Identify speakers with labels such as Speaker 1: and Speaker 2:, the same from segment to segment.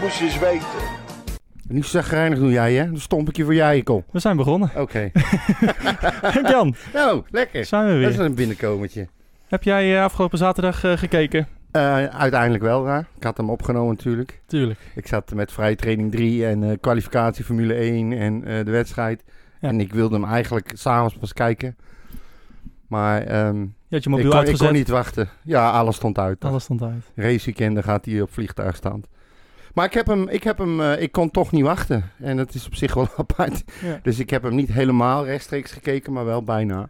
Speaker 1: moest eens weten.
Speaker 2: Niet zo gereinigd doe jij, hè? Dan stomp ik je voor jij kop.
Speaker 3: We zijn begonnen.
Speaker 2: Oké.
Speaker 3: Jan,
Speaker 2: nou, lekker.
Speaker 3: zijn we
Speaker 2: Dat is
Speaker 3: weer.
Speaker 2: een binnenkomertje.
Speaker 3: Heb jij eh, afgelopen zaterdag eh, gekeken?
Speaker 2: Eh, uiteindelijk wel, ja. Ik had hem opgenomen natuurlijk.
Speaker 3: Tuurlijk.
Speaker 2: Ik zat met vrije training 3 en eh, kwalificatie Formule 1 en eh, de wedstrijd.
Speaker 3: Ja.
Speaker 2: En ik wilde hem eigenlijk s'avonds pas kijken. Maar ehm,
Speaker 3: Je had je
Speaker 2: ik,
Speaker 3: mobiel
Speaker 2: kon, ik
Speaker 3: uitgezet.
Speaker 2: kon niet wachten. Ja, alles stond uit.
Speaker 3: Alles stond uit.
Speaker 2: raceweekenden gaat hij op vliegtuigstand. Maar ik heb hem, ik heb hem, eh, ik kon toch niet wachten. En dat is op zich wel apart.
Speaker 3: Ja.
Speaker 2: Dus ik heb hem niet helemaal rechtstreeks gekeken, maar wel bijna.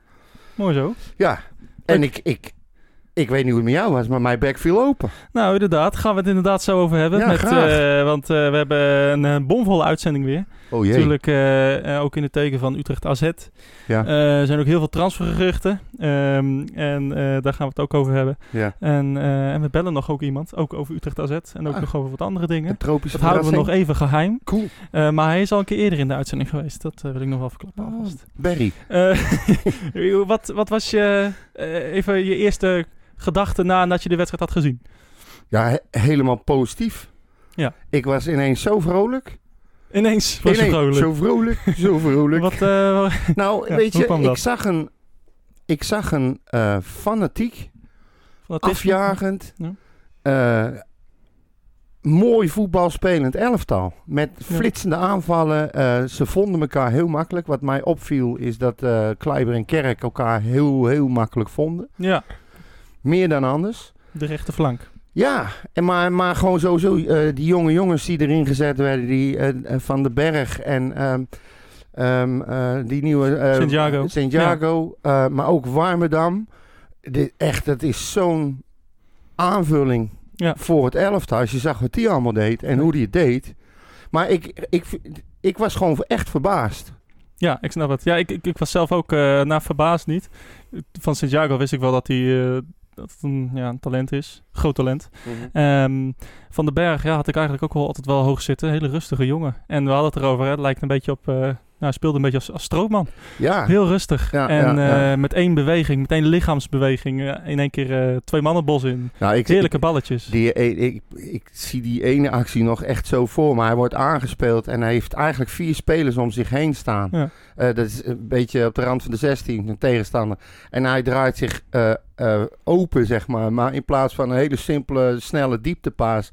Speaker 3: Mooi zo.
Speaker 2: Ja, en ik, ik, ik weet niet hoe het met jou was, maar mijn bek viel open.
Speaker 3: Nou, inderdaad. Gaan we het inderdaad zo over hebben.
Speaker 2: Ja,
Speaker 3: met,
Speaker 2: graag.
Speaker 3: eh, want eh, we hebben een eh, bomvolle uitzending weer.
Speaker 2: Oh jee.
Speaker 3: Natuurlijk eh, eh, ook in het teken van Utrecht AZ.
Speaker 2: Ja.
Speaker 3: Eh, er zijn ook heel veel transfergeruchten. Ehm, en eh, daar gaan we het ook over hebben.
Speaker 2: Ja.
Speaker 3: En, eh, en we bellen nog ook iemand. Ook over Utrecht AZ. En ook
Speaker 2: Ah.
Speaker 3: nog over wat andere dingen.
Speaker 2: Een tropische
Speaker 3: Dat houden we nog
Speaker 2: verrassing.
Speaker 3: even geheim.
Speaker 2: Cool.
Speaker 3: Eh, maar hij is al een keer eerder in de uitzending geweest. Dat eh, wil ik nog wel verklappen.
Speaker 2: Oh.
Speaker 3: alvast.
Speaker 2: Barry.
Speaker 3: Eh, wat, wat was je, eh, even je eerste gedachte nadat je de wedstrijd had gezien?
Speaker 2: Ja, he- helemaal positief.
Speaker 3: Ja.
Speaker 2: Ik was ineens zo vrolijk.
Speaker 3: Ineens was je
Speaker 2: Ineens
Speaker 3: vrolijk.
Speaker 2: Zo vrolijk, zo vrolijk.
Speaker 3: Wat, eh,
Speaker 2: Nou,
Speaker 3: Ja,
Speaker 2: weet
Speaker 3: hoe
Speaker 2: je,
Speaker 3: kwam
Speaker 2: ik
Speaker 3: dat?
Speaker 2: zag een, ik zag een eh, fanatiek,
Speaker 3: fanatisme?
Speaker 2: afjagend,
Speaker 3: Ja.
Speaker 2: eh, mooi voetbalspelend elftal. Met
Speaker 3: Ja.
Speaker 2: flitsende aanvallen. eh, ze vonden elkaar heel makkelijk. Wat mij opviel is dat eh Kleiber en Kerk elkaar heel, heel makkelijk vonden.
Speaker 3: Ja,
Speaker 2: Meer dan anders.
Speaker 3: de rechte flank.
Speaker 2: Ja, en maar, maar gewoon sowieso eh, die jonge jongens die erin gezet werden. Die eh, eh, Van de Berg en ehm, ehm, eh, die nieuwe... eh,
Speaker 3: Santiago.
Speaker 2: Santiago, eh, maar ook Warmerdam. Dit, echt, dat is zo'n aanvulling
Speaker 3: Ja.
Speaker 2: voor het elftal. Als je zag wat die allemaal deed en hoe die het deed. Maar ik, ik, ik was gewoon echt verbaasd.
Speaker 3: Ja, ik snap het. Ja, ik, ik, ik was zelf ook eh na verbaasd niet. Van Santiago wist ik wel dat hij eh, dat het een, ja, een talent is. Groot talent.
Speaker 2: Mhm.
Speaker 3: Ehm, van den Berg ja, had ik eigenlijk ook wel altijd wel hoog zitten. Hele rustige jongen. En we hadden het erover. hè, Het lijkt een beetje op... eh, nou, hij speelde een beetje als, als stroopman.
Speaker 2: Ja,
Speaker 3: Heel rustig.
Speaker 2: Ah. Ja,
Speaker 3: en
Speaker 2: ja, ja.
Speaker 3: eh, met één beweging, met één lichaamsbeweging, eh, in één keer eh, twee mannen bos in.
Speaker 2: nou, ik,
Speaker 3: Heerlijke balletjes.
Speaker 2: Die, eh, ik, ik, ik zie die ene actie nog echt zo voor me. Hij wordt aangespeeld en hij heeft eigenlijk vier spelers om zich heen staan.
Speaker 3: Ja.
Speaker 2: Eh, dat is een beetje op de rand van de 16, een tegenstander. En hij draait zich eh, eh, open, zeg maar. Maar in plaats van een hele simpele, snelle dieptepaas,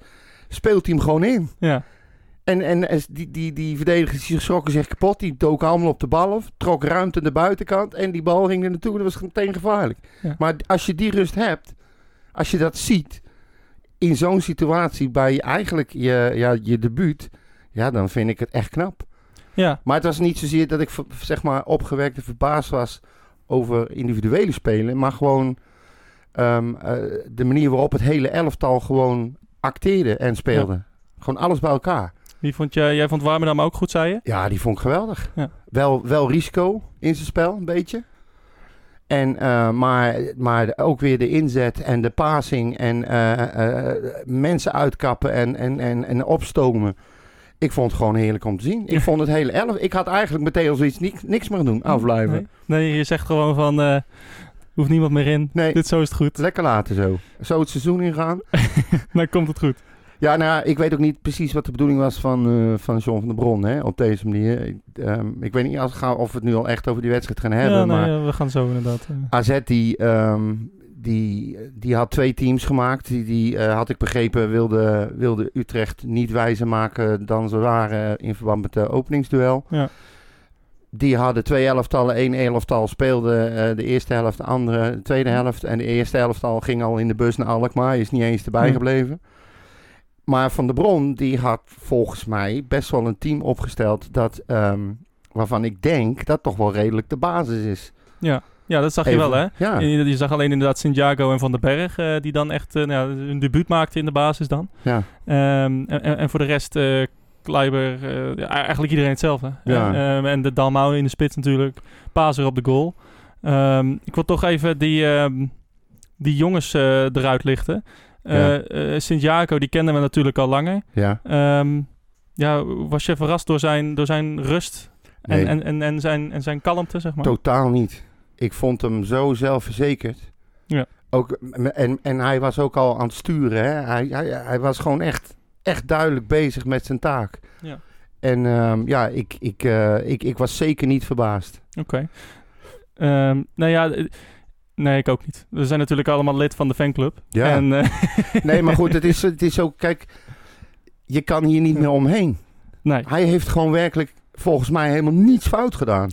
Speaker 2: speelt hij hem gewoon in.
Speaker 3: ja.
Speaker 2: En, en eh, die, die, die verdedigers die schrokken zich kapot. Die doken allemaal op de bal af, trok ruimte aan de buitenkant en die bal ging er naartoe. Dat was meteen gevaarlijk.
Speaker 3: Ja.
Speaker 2: Maar als je die rust hebt, als je dat ziet in zo'n situatie bij eigenlijk je, ja, je debuut, ja, dan vind ik het echt knap.
Speaker 3: ja,
Speaker 2: Maar het was niet zozeer dat ik v- zeg maar opgewekt en verbaasd was over individuele spelen, maar gewoon ehm, eh, de manier waarop het hele elftal gewoon acteerde en speelde. Gewoon alles bij elkaar.
Speaker 3: wie vond jij, jij vond Warmerdam ook goed, zei je?
Speaker 2: Ja, die vond ik geweldig.
Speaker 3: Ja.
Speaker 2: Wel, wel risico in zijn spel, een beetje. En, eh, maar, maar ook weer de inzet en de passing en eh, eh, mensen uitkappen en, en, en, en opstomen. Ik vond het gewoon heerlijk om te zien. Ik
Speaker 3: Ja.
Speaker 2: vond het hele elf. Ik had eigenlijk meteen al zoiets niks, niks meer doen, afblijven.
Speaker 3: Nee, Nee, je zegt gewoon van, eh hoeft niemand meer in.
Speaker 2: Nee.
Speaker 3: Dit zo is het goed.
Speaker 2: Lekker laten zo. Zo het seizoen ingaan.
Speaker 3: Dan komt het goed.
Speaker 2: Ja, nou, ja, ik weet ook niet precies wat de bedoeling was van, eh van John van der Bron hè, op deze manier. Ik, ehm, ik weet niet als we gaan- of we het nu al echt over die wedstrijd gaan hebben.
Speaker 3: ja, nee,
Speaker 2: maar
Speaker 3: ja, we gaan zo inderdaad. eh.
Speaker 2: AZ die, ehm, die, die had twee teams gemaakt. Die, die eh, had ik begrepen wilde, wilde Utrecht niet wijzer maken dan ze waren in verband met de openingsduel.
Speaker 3: Ja.
Speaker 2: Die hadden twee elftallen. één elftal speelde eh, de eerste helft, de andere de tweede helft. En de eerste elftal ging al in de bus naar Alkmaar. Is niet eens erbij
Speaker 3: Ja.
Speaker 2: gebleven. Maar Van der Bron die had volgens mij best wel een team opgesteld dat, ehm, waarvan ik denk dat toch wel redelijk de basis is.
Speaker 3: ja, dat zag je
Speaker 2: Even-
Speaker 3: wel, hè?
Speaker 2: Ja.
Speaker 3: Je, je zag alleen inderdaad Santiago en Van den Berg, eh, die dan echt eh, nou, ja, hun debuut maakten in de basis dan.
Speaker 2: ja.
Speaker 3: Ehm, en, en, en voor de rest, eh Kleiber, eh, ja, eigenlijk iedereen hetzelfde.
Speaker 2: Ja.
Speaker 3: En, ehm, en de Dalmau in de spits natuurlijk. Pazer op de goal. Ehm, ik wil toch even die, ehm, die jongens eh, eruit lichten. Eh
Speaker 2: Ja.
Speaker 3: eh, Santiago, die kennen we natuurlijk al langer.
Speaker 2: Ja,
Speaker 3: Ehm, ja, was je verrast door zijn, door zijn rust en,
Speaker 2: Nee.
Speaker 3: en, en, en, zijn, en zijn kalmte, zeg maar?
Speaker 2: totaal niet. Ik vond hem zo zelfverzekerd.
Speaker 3: Ja.
Speaker 2: Ook, m- en, en hij was ook al aan het sturen. Hè? Hij, hij, hij was gewoon echt echt duidelijk bezig met zijn taak.
Speaker 3: Ja.
Speaker 2: En ehm, ja, ik, ik, eh, ik, ik was zeker niet verbaasd.
Speaker 3: Oké. Ehm, nou ja, eh, nee, ik ook niet. We zijn natuurlijk allemaal lid van de fanclub.
Speaker 2: Ja.
Speaker 3: En, eh,
Speaker 2: Nee, maar goed, het is, het is ook, kijk, je kan hier niet meer omheen.
Speaker 3: nee.
Speaker 2: Hij heeft gewoon werkelijk volgens mij helemaal niets fout gedaan.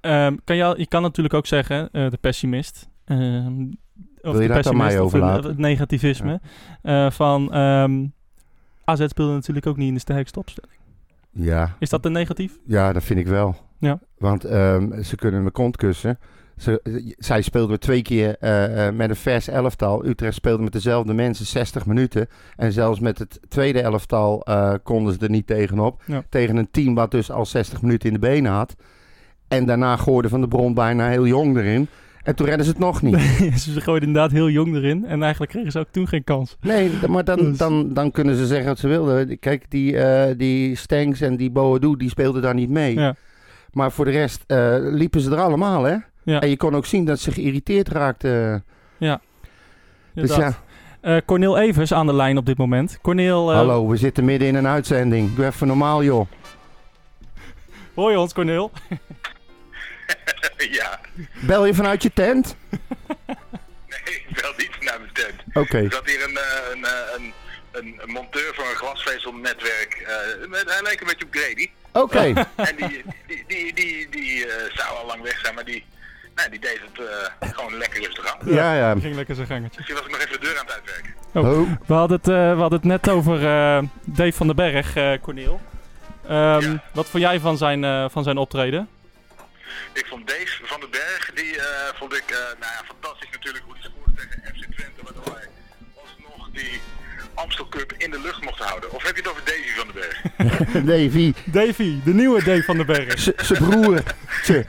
Speaker 3: Ehm, kan je, al- je kan natuurlijk ook zeggen, eh, de pessimist. ehm,
Speaker 2: Wil
Speaker 3: of
Speaker 2: je
Speaker 3: de
Speaker 2: dat aan
Speaker 3: pessimist
Speaker 2: mij
Speaker 3: of een-
Speaker 2: overlaten?
Speaker 3: Het negativisme. eh, van ehm, AZ speelde natuurlijk ook niet in de sterkste opstelling.
Speaker 2: Ja,
Speaker 3: Is dat een negatief?
Speaker 2: ja dat vind ik wel.
Speaker 3: Ja.
Speaker 2: Want ehm, ze kunnen mijn kont kussen. Ze, eh, zij speelden twee keer eh, eh, met een vers elftal. Utrecht speelde met dezelfde mensen 60 minuten. En zelfs met het tweede elftal eh, konden ze er niet tegenop.
Speaker 3: Ja.
Speaker 2: Tegen een team wat dus al 60 minuten in de benen had. En daarna gooide Van de Bron bijna heel jong erin. En toen redden ze het nog niet.
Speaker 3: ze gooiden inderdaad heel jong erin. En eigenlijk kregen ze ook toen geen kans.
Speaker 2: Nee, d- maar dan,
Speaker 3: Dus-
Speaker 2: dan, dan kunnen ze zeggen wat ze wilden. Kijk, die, eh die Stengs en die Boadu, die speelden daar niet mee.
Speaker 3: Ja.
Speaker 2: Maar voor de rest eh, liepen ze er allemaal, hè?
Speaker 3: Ja.
Speaker 2: En je kon ook zien dat ze geïrriteerd raakten. Dus
Speaker 3: Inderdaad.
Speaker 2: ja,
Speaker 3: Eh, Cornel Evers aan de lijn op dit moment. Cornel, eh,
Speaker 2: hallo, we zitten midden in een uitzending. Doe even normaal, joh.
Speaker 3: hoor je ons Cornel?
Speaker 1: Ja,
Speaker 2: Bel je vanuit je tent?
Speaker 1: nee, ik bel niet naar mijn tent.
Speaker 2: Oké.
Speaker 1: Er zat hier een, eh, een, eh, een, een, een monteur van een glasvezelnetwerk. eh, met- hij leek een beetje op Grady.
Speaker 2: Oké.
Speaker 1: En die, die, die, die, die eh, zou al lang weg zijn, maar die, nou, die deed het eh, gewoon lekker rustig aan.
Speaker 2: ja, ja.
Speaker 3: Ging lekker zijn gangetje.
Speaker 1: Misschien was ik nog even de deur aan het uitwerken.
Speaker 2: Oh,
Speaker 3: We hadden het, eh, we hadden het net over eh, Dave van den Berg, eh Cornel. Ehm,
Speaker 1: Ja.
Speaker 3: Wat vond jij van zijn, eh, van zijn optreden?
Speaker 1: Ik vond Dave van den Berg, die eh, vond ik eh, nou ja, fantastisch natuurlijk hoe hij scoorde tegen FC Twente. Waardoor hij alsnog die Amstel Cup in de lucht mocht houden. Of heb je het over Davy van den Berg?
Speaker 2: Davy.
Speaker 3: Davy, de nieuwe Dave van den Berg.
Speaker 2: Zijn broer. Tje.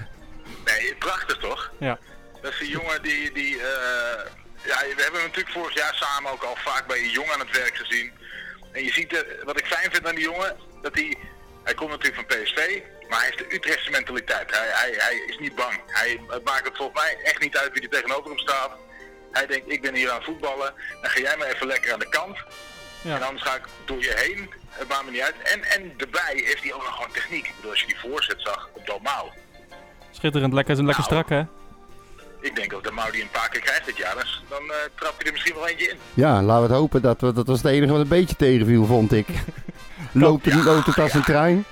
Speaker 1: Nee, prachtig toch?
Speaker 3: Ja.
Speaker 1: Dat is die jongen die... die eh, ja, we hebben hem natuurlijk vorig jaar samen ook al vaak bij een jongen aan het werk gezien. En je ziet, de, wat ik fijn vind aan die jongen, dat hij... Hij komt natuurlijk van PSV, maar hij heeft de Utrechtse mentaliteit. Hij, hij, hij is niet bang. Hij het maakt het volgens mij echt niet uit wie er tegenover hem staat. Hij denkt, ik ben hier aan het voetballen, dan ga jij maar even lekker aan de kant.
Speaker 3: Ja.
Speaker 1: En anders ga ik door je heen, het maakt me niet uit. En, en daarbij heeft hij ook nog gewoon techniek. Ik bedoel, als je die voorzet zag op Dalmau,
Speaker 3: Schitterend, lekker, is een lekker
Speaker 1: Nou.
Speaker 3: strak hè?
Speaker 1: ik denk dat de Mau die een paar keer krijgt dit jaar, dan, dan eh, trap je er misschien wel eentje in.
Speaker 2: Ja, laten we het hopen. Dat, we, dat was het enige wat een beetje tegenviel, vond ik. Loopt het, loopt het als een trein?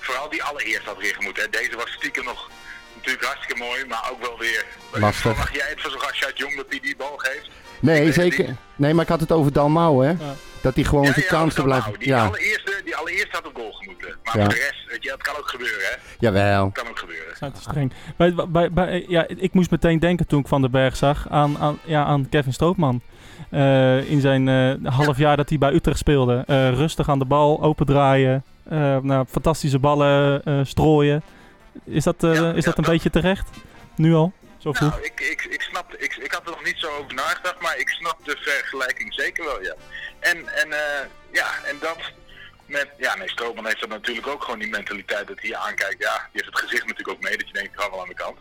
Speaker 1: Vooral die allereerst had weer gemoet. Hè. Deze was stiekem nog natuurlijk hartstikke mooi, maar ook wel weer...
Speaker 2: Lastig.
Speaker 1: Verwacht jij het van zo'n gastje uit Jong dat hij die bal geeft? Ik
Speaker 2: Nee,
Speaker 1: weet het
Speaker 2: zeker. Nee, maar ik had het over Dalmau, hè?
Speaker 3: Ja.
Speaker 2: Dat hij gewoon zijn
Speaker 1: ja,
Speaker 2: kansen
Speaker 1: dat
Speaker 2: blijft.
Speaker 1: nou, Die,
Speaker 2: Ja,
Speaker 1: allereerste, die allereerste had op goal gemoeten. Maar
Speaker 2: Ja.
Speaker 1: voor de rest, weet je, dat kan ook gebeuren, hè.
Speaker 2: jawel.
Speaker 1: Dat kan ook gebeuren.
Speaker 3: Zijn te streng. Bij, bij, bij, ja, ik moest meteen denken toen ik Van den Berg zag aan, aan, ja, aan Kevin Stroopman. Eh, in zijn eh, half jaar dat hij bij Utrecht speelde. Eh, rustig aan de bal, opendraaien. eh nou, fantastische ballen eh, strooien. Is dat, eh,
Speaker 1: Ja,
Speaker 3: is dat
Speaker 1: ja,
Speaker 3: een
Speaker 1: dat-
Speaker 3: beetje terecht? Nu al? Zo vroeg?
Speaker 1: Nou, ik, ik, ik snap, ik, ik had er nog niet zo over nagedacht, maar ik snap de vergelijking zeker wel, ja. En, en, eh, ja, en dat met, ja, nee, Stroopman heeft dat natuurlijk ook gewoon die mentaliteit dat hij je aankijkt. Ja, die heeft het gezicht natuurlijk ook mee, dat je denkt, ik ga wel aan de kant.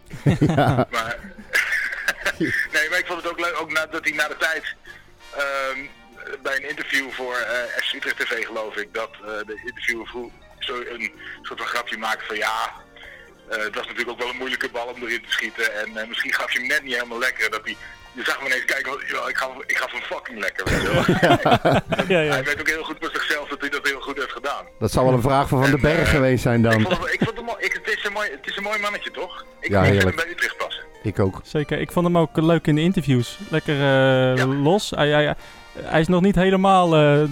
Speaker 2: Ja.
Speaker 1: Maar, nee, maar ik vond het ook leuk, ook na, dat hij na de tijd, ehm, bij een interview voor eh FC Utrecht TV geloof ik, dat eh, de interviewer vroeg, zo een soort van grapje maakte van ja, eh, het was natuurlijk ook wel een moeilijke bal om erin te schieten. En eh, misschien gaf je hem net niet helemaal lekker. Dat hij, je zag hem ineens kijken, want, "Ja, ik gaf, ik gaf hem fucking lekker. Weet je wel.
Speaker 3: Ja, ja.
Speaker 1: Hij weet ook heel goed met zichzelf dat hij dat heel goed heeft gedaan.
Speaker 2: Dat zal wel een vraag van Van den Berg geweest zijn
Speaker 1: Ik
Speaker 2: dan.
Speaker 1: vond, hem- ik vond hem, mooi- ik, het, is een mooi, het is een mooi mannetje toch? Ik,
Speaker 2: Ja,
Speaker 1: ik vind hem
Speaker 2: heerlijk.
Speaker 1: bij Utrecht passen.
Speaker 2: Ik ook.
Speaker 3: Zeker. Ik vond hem ook leuk in de interviews. Lekker eh,
Speaker 1: Ja.
Speaker 3: los. Hij, hij, hij is nog niet helemaal eh,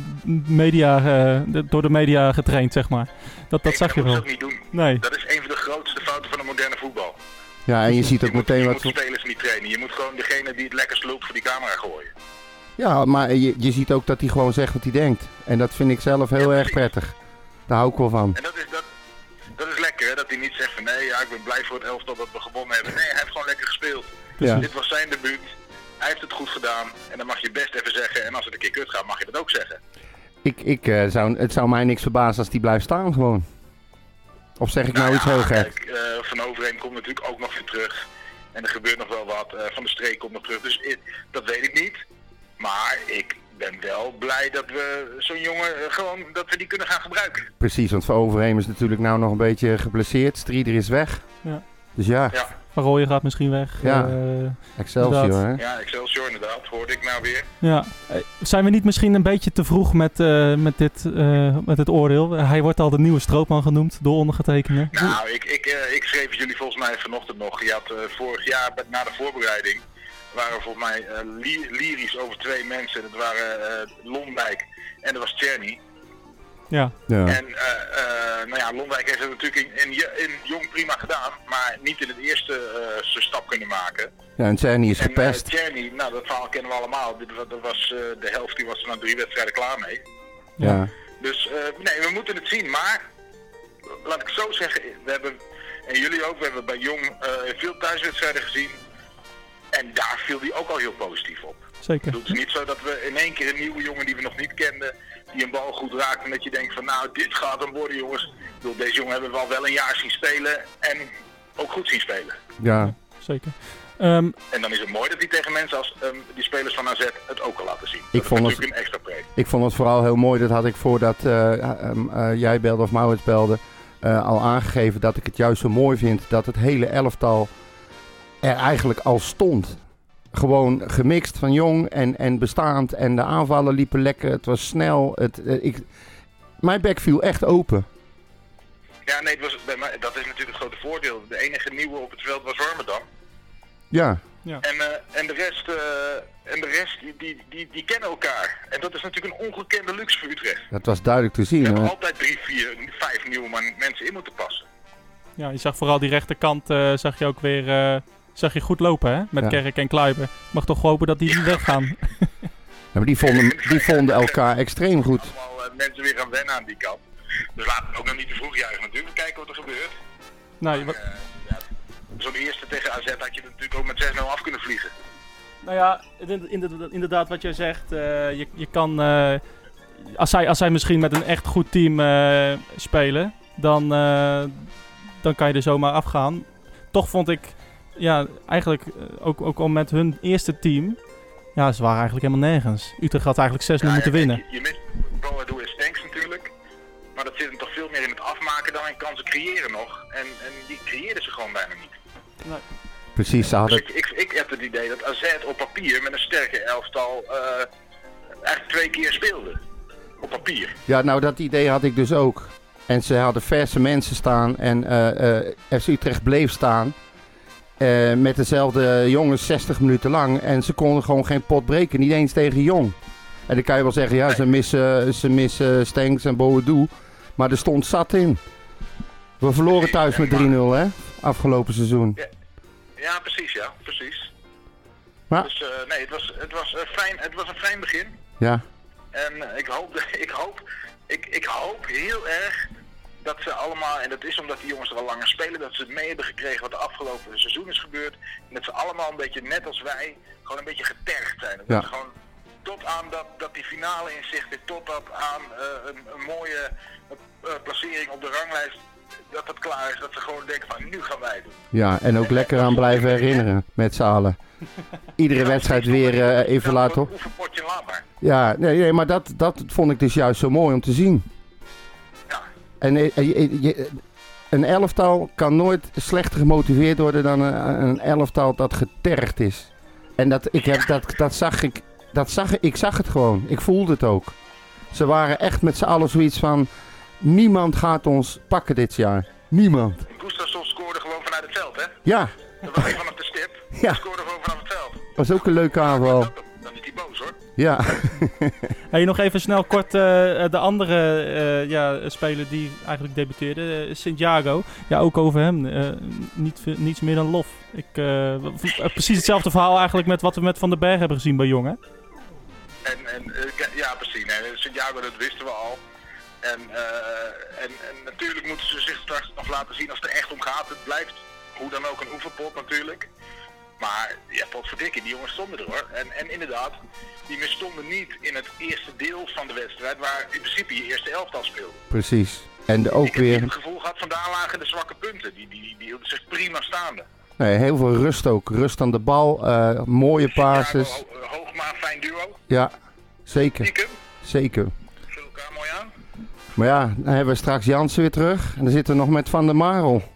Speaker 3: media, eh, de- door de media getraind, zeg maar. Dat, dat
Speaker 1: Ik-
Speaker 3: zag je
Speaker 1: moet
Speaker 3: wel.
Speaker 1: dat niet doen.
Speaker 3: Nee.
Speaker 1: Dat is een van de grootste fouten van de moderne voetbal.
Speaker 2: Ja, en je ziet ook
Speaker 1: je moet,
Speaker 2: meteen
Speaker 1: je
Speaker 2: wat.
Speaker 1: moet spelers niet trainen. Je moet gewoon degene die het lekkerst loopt voor die camera gooien.
Speaker 2: Ja, maar je, je ziet ook dat hij gewoon zegt wat hij denkt. En dat vind ik zelf heel erg prettig. Daar hou ik wel van.
Speaker 1: En dat is, dat, dat is lekker, hè? dat hij niet zegt van nee, ja, ik ben blij voor het elftal dat we gewonnen hebben. Nee, hij heeft gewoon lekker gespeeld.
Speaker 2: Ja.
Speaker 1: Dit was zijn debuut. Hij heeft het goed gedaan. En dan mag je best even zeggen. En als het een keer kut gaat, mag je dat ook zeggen.
Speaker 2: Ik, ik, eh, zou, het zou mij niks verbazen als die blijft staan gewoon. Of zeg ik nou iets heel gek?
Speaker 1: Kijk, eh, van Overheen komt natuurlijk ook nog weer terug. En er gebeurt nog wel wat. Eh, van de Streek komt nog terug. Dus ik- dat weet ik niet. Maar ik ben wel blij dat we zo'n jongen eh, gewoon dat we die kunnen gaan gebruiken.
Speaker 2: Precies, want Van Overheem is natuurlijk nou nog een beetje geblesseerd. Strieder is weg.
Speaker 3: Ja.
Speaker 2: Dus ja,
Speaker 1: Ja.
Speaker 3: Van Rooyen gaat misschien weg.
Speaker 2: Ja.
Speaker 3: Eh,
Speaker 2: Excelsior.
Speaker 3: Inderdaad.
Speaker 2: Hè?
Speaker 1: Ja, Excelsior inderdaad, hoorde ik nou weer.
Speaker 3: ja. Eh, Zijn we niet misschien een beetje te vroeg met, eh, met, dit, eh, met dit oordeel? Hij wordt al de nieuwe stroopman genoemd door ondergetekende.
Speaker 1: Nou, ik, ik, eh, ik schreef het jullie volgens mij vanochtend nog. Je had eh, vorig jaar bij- na de voorbereiding waren er volgens mij eh, ly- lyrisch over twee mensen. Dat waren eh, Londijk en dat was Tjerny.
Speaker 3: Ja,
Speaker 2: Ja.
Speaker 1: En eh, eh, nou ja, Londijk heeft het natuurlijk in, in, je- in jong prima gedaan, maar niet in het eerste eh, zijn stap kunnen maken.
Speaker 2: ja, en Cerny is
Speaker 1: En eh,
Speaker 2: gepest.
Speaker 1: Tjerny, nou dat verhaal kennen we allemaal. Dit wa- Dat was eh, de helft, die was er na drie wedstrijden klaar mee.
Speaker 3: ja.
Speaker 2: ja.
Speaker 1: Dus eh, nee, we moeten het zien. Maar laat ik het zo zeggen, we hebben, en jullie ook, we hebben bij Jong eh, veel thuiswedstrijden gezien. En daar viel die ook al heel positief op. Ik
Speaker 3: zeker.
Speaker 1: bedoel, Het is niet zo dat we in één keer een nieuwe jongen die we nog niet kenden, die een bal goed raakt en dat je denkt van nou, dit gaat hem worden jongens. Ik bedoel, deze jongen hebben we al wel een jaar zien spelen en ook goed zien spelen.
Speaker 2: ja.
Speaker 3: zeker. Ehm,
Speaker 1: En dan is het mooi dat hij tegen mensen als ehm, die spelers van AZ het ook al laten zien.
Speaker 2: vond
Speaker 1: dat is
Speaker 2: het-
Speaker 1: natuurlijk een extra pre.
Speaker 2: Ik vond het vooral heel mooi, dat had ik voordat eh, ehm, eh, jij belde of Maurits belde, eh, al aangegeven dat ik het juist zo mooi vind dat het hele elftal er eigenlijk al stond. Gewoon gemixt van jong en, en bestaand en de aanvallen liepen lekker, het was snel. Het, eh, ik, mijn bek viel echt open.
Speaker 1: Ja, nee, het was, bij mij- dat is natuurlijk het grote voordeel. De enige nieuwe op het veld was Warmerdam.
Speaker 2: Ja,
Speaker 1: En, eh, en de rest, eh, en de rest die, die, die, die kennen elkaar. En dat is natuurlijk een ongekende luxe voor Utrecht.
Speaker 2: dat was duidelijk te zien.
Speaker 1: We hebben
Speaker 2: hoor.
Speaker 1: altijd drie, vier, vijf nieuwe man- mensen in moeten passen.
Speaker 3: ja, je zag vooral die rechterkant, eh, zag je ook weer eh, zag je goed lopen, hè? Met
Speaker 2: Ja.
Speaker 3: Kerk en Kluiber. Mag toch hopen dat die niet weggaan.
Speaker 2: Ja, maar die vonden, die vonden elkaar extreem goed.
Speaker 1: Allemaal eh, mensen weer gaan wennen aan die kant. Dus laten we ook nog niet te vroeg juichen natuurlijk. Kijken wat er gebeurt.
Speaker 3: nee, wat,
Speaker 1: Eh, ja, Zo'n eerste tegen AZ had je er natuurlijk ook met 6-0 af kunnen vliegen.
Speaker 3: Nou ja, inderdaad- inderdaad- inderdaad wat jij zegt. eh, je, je kan, eh, als, zij, als zij misschien met een echt goed team eh, spelen, dan, eh, dan kan je er zomaar afgaan. Toch vond ik, ja, eigenlijk eh, ook, ook al met hun eerste team, ja, ze waren eigenlijk helemaal nergens. Utrecht had eigenlijk 6-0 moeten
Speaker 1: ja,
Speaker 3: winnen.
Speaker 1: Je, je mist Boadu en Stanks natuurlijk. Maar dat zit hem toch veel meer in het afmaken dan in kansen creëren nog. En, en die creëerden ze gewoon bijna niet.
Speaker 2: Precies, ze
Speaker 1: Dus
Speaker 2: hadden...
Speaker 1: ik, ik, ik heb het idee dat AZ op papier met een sterke elftal eh echt twee keer speelde. Op papier.
Speaker 2: Ja, nou dat idee had ik dus ook. En ze hadden verse mensen staan en eh, eh, FC Utrecht bleef staan. eh, met dezelfde jongens 60 minuten lang. En ze konden gewoon geen pot breken, niet eens tegen Jong. En dan kan je wel zeggen, ja, ze missen, ze missen Stenks en Boadu. Maar er stond zat in. We verloren thuis met 3-0, hè? Afgelopen seizoen.
Speaker 1: Ja, precies, ja, precies.
Speaker 2: Maar-
Speaker 1: Dus eh, nee, het was, het, was een fijn, het was een fijn begin.
Speaker 2: Ja,
Speaker 1: En eh, ik hoop, ik hoop, ik, ik hoop heel erg dat ze allemaal, en dat is omdat die jongens er al langer spelen, dat ze het mee hebben gekregen wat de afgelopen seizoen is gebeurd. En dat ze allemaal een beetje, net als wij, gewoon een beetje getergd zijn. Dat
Speaker 2: Ja.
Speaker 1: ze gewoon tot aan dat, dat die finale in zicht is, totdat aan eh, een, een mooie eh, placering op de ranglijst, dat dat klaar is. Dat ze gewoon denken van, nu gaan wij het doen.
Speaker 2: ja, en ook lekker aan blijven herinneren met z'n allen. Iedere wedstrijd weer eh, even laten op.
Speaker 1: Een oefenpotje laat maar.
Speaker 2: Ja, nee, nee maar dat, dat vond ik dus juist zo mooi om te zien.
Speaker 1: Ja.
Speaker 2: En eh, je- je- een elftal kan nooit slechter gemotiveerd worden dan een, een elftal dat getergd is. En dat, ik heb, dat, dat zag ik, dat zag, ik zag het gewoon. Ik voelde het ook. Ze waren echt met z'n allen zoiets van, niemand gaat ons pakken dit jaar. Niemand.
Speaker 1: Gustafsson scoorde gewoon vanuit het veld, hè?
Speaker 2: Ja,
Speaker 1: Dat was vanaf de stip.
Speaker 2: Ja.
Speaker 1: Ja. Scoorde gewoon vanaf het veld.
Speaker 2: was ook een leuke aanval.
Speaker 1: Dan is hij boos hoor.
Speaker 2: Ja,
Speaker 3: Hey, nog even snel kort eh, eh, de andere eh, ja, speler die eigenlijk debuteerde, eh, Santiago. Ja, ook over hem. eh, niet, veel- niets meer dan lof. Ik, eh, w- v- eh, precies hetzelfde verhaal eigenlijk met wat we met Van den Berg hebben gezien bij jongen.
Speaker 1: En, en eh, k- ja, precies. Nee, Santiago, dat wisten we al. En, eh, en, en natuurlijk moeten ze zich straks nog laten zien als het er echt om gaat. Het blijft hoe dan ook een oefenpot natuurlijk. Maar ja, potverdikke, die jongens stonden er hoor. En, en inderdaad, die misstonden niet in het eerste deel van de wedstrijd, waar in principe je eerste elftal speelde.
Speaker 2: precies. En de- ook
Speaker 1: Ik heb niet het
Speaker 2: weer
Speaker 1: gevoel gehad, vandaar lagen de zwakke punten. Die, die, die, die hielden zich prima staande.
Speaker 2: nee, heel veel rust ook. Rust aan de bal, eh, mooie
Speaker 1: Santiago,
Speaker 2: passes.
Speaker 1: Ho- Hoogma, fijn duo.
Speaker 2: Ja, Zeker,
Speaker 1: Stiekem.
Speaker 2: zeker.
Speaker 1: Vul elkaar mooi aan.
Speaker 2: Maar ja, dan hebben we straks Jansen weer terug. En dan zitten we nog met Van der Marel.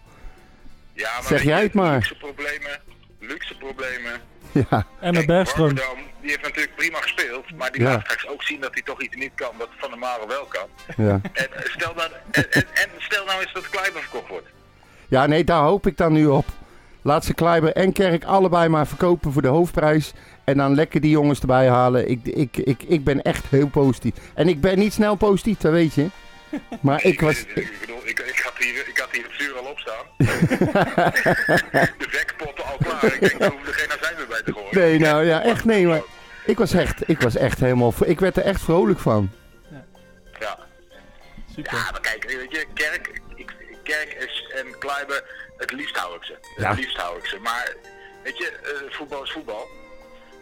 Speaker 1: Ja, maar
Speaker 2: Zeg
Speaker 1: weet je,
Speaker 2: jij het maar.
Speaker 1: Luxe problemen. Luxe problemen.
Speaker 2: Ja,
Speaker 3: En met
Speaker 1: Kijk,
Speaker 3: Bergström.
Speaker 1: Warmerdam, die heeft natuurlijk prima gespeeld. Maar die
Speaker 2: Ja.
Speaker 1: laat straks ook zien dat hij toch iets niet kan wat Van der Maren wel kan.
Speaker 2: ja.
Speaker 1: En, eh, stel, dan, en, en- en stel nou eens dat Kleiber verkocht wordt.
Speaker 2: ja, nee, daar hoop ik dan nu op. Laat ze Kleiber en Kerk allebei maar verkopen voor de hoofdprijs. En dan lekker die jongens erbij halen. Ik, ik, ik, ik ben echt heel positief. En ik ben niet snel positief, dat weet je. Maar ik was...
Speaker 1: Ik, bedoel, ik, ik, had hier, ik had hier het vuur al op staan. de wekpotten al klaar. Ik denk, daar hoefde geen azijn meer bij te gooien.
Speaker 2: Nee, nou ja, echt nee, maar... Ik was echt, ik was echt helemaal... Ik werd er echt vrolijk van.
Speaker 1: Ja.
Speaker 3: Super.
Speaker 1: ja, maar kijk, weet je, Kerk, ik, Kerk is, en Kleiber, het liefst hou ik ze.
Speaker 2: Ja.
Speaker 1: Het liefst hou ik ze. Maar, weet je, eh, voetbal is voetbal.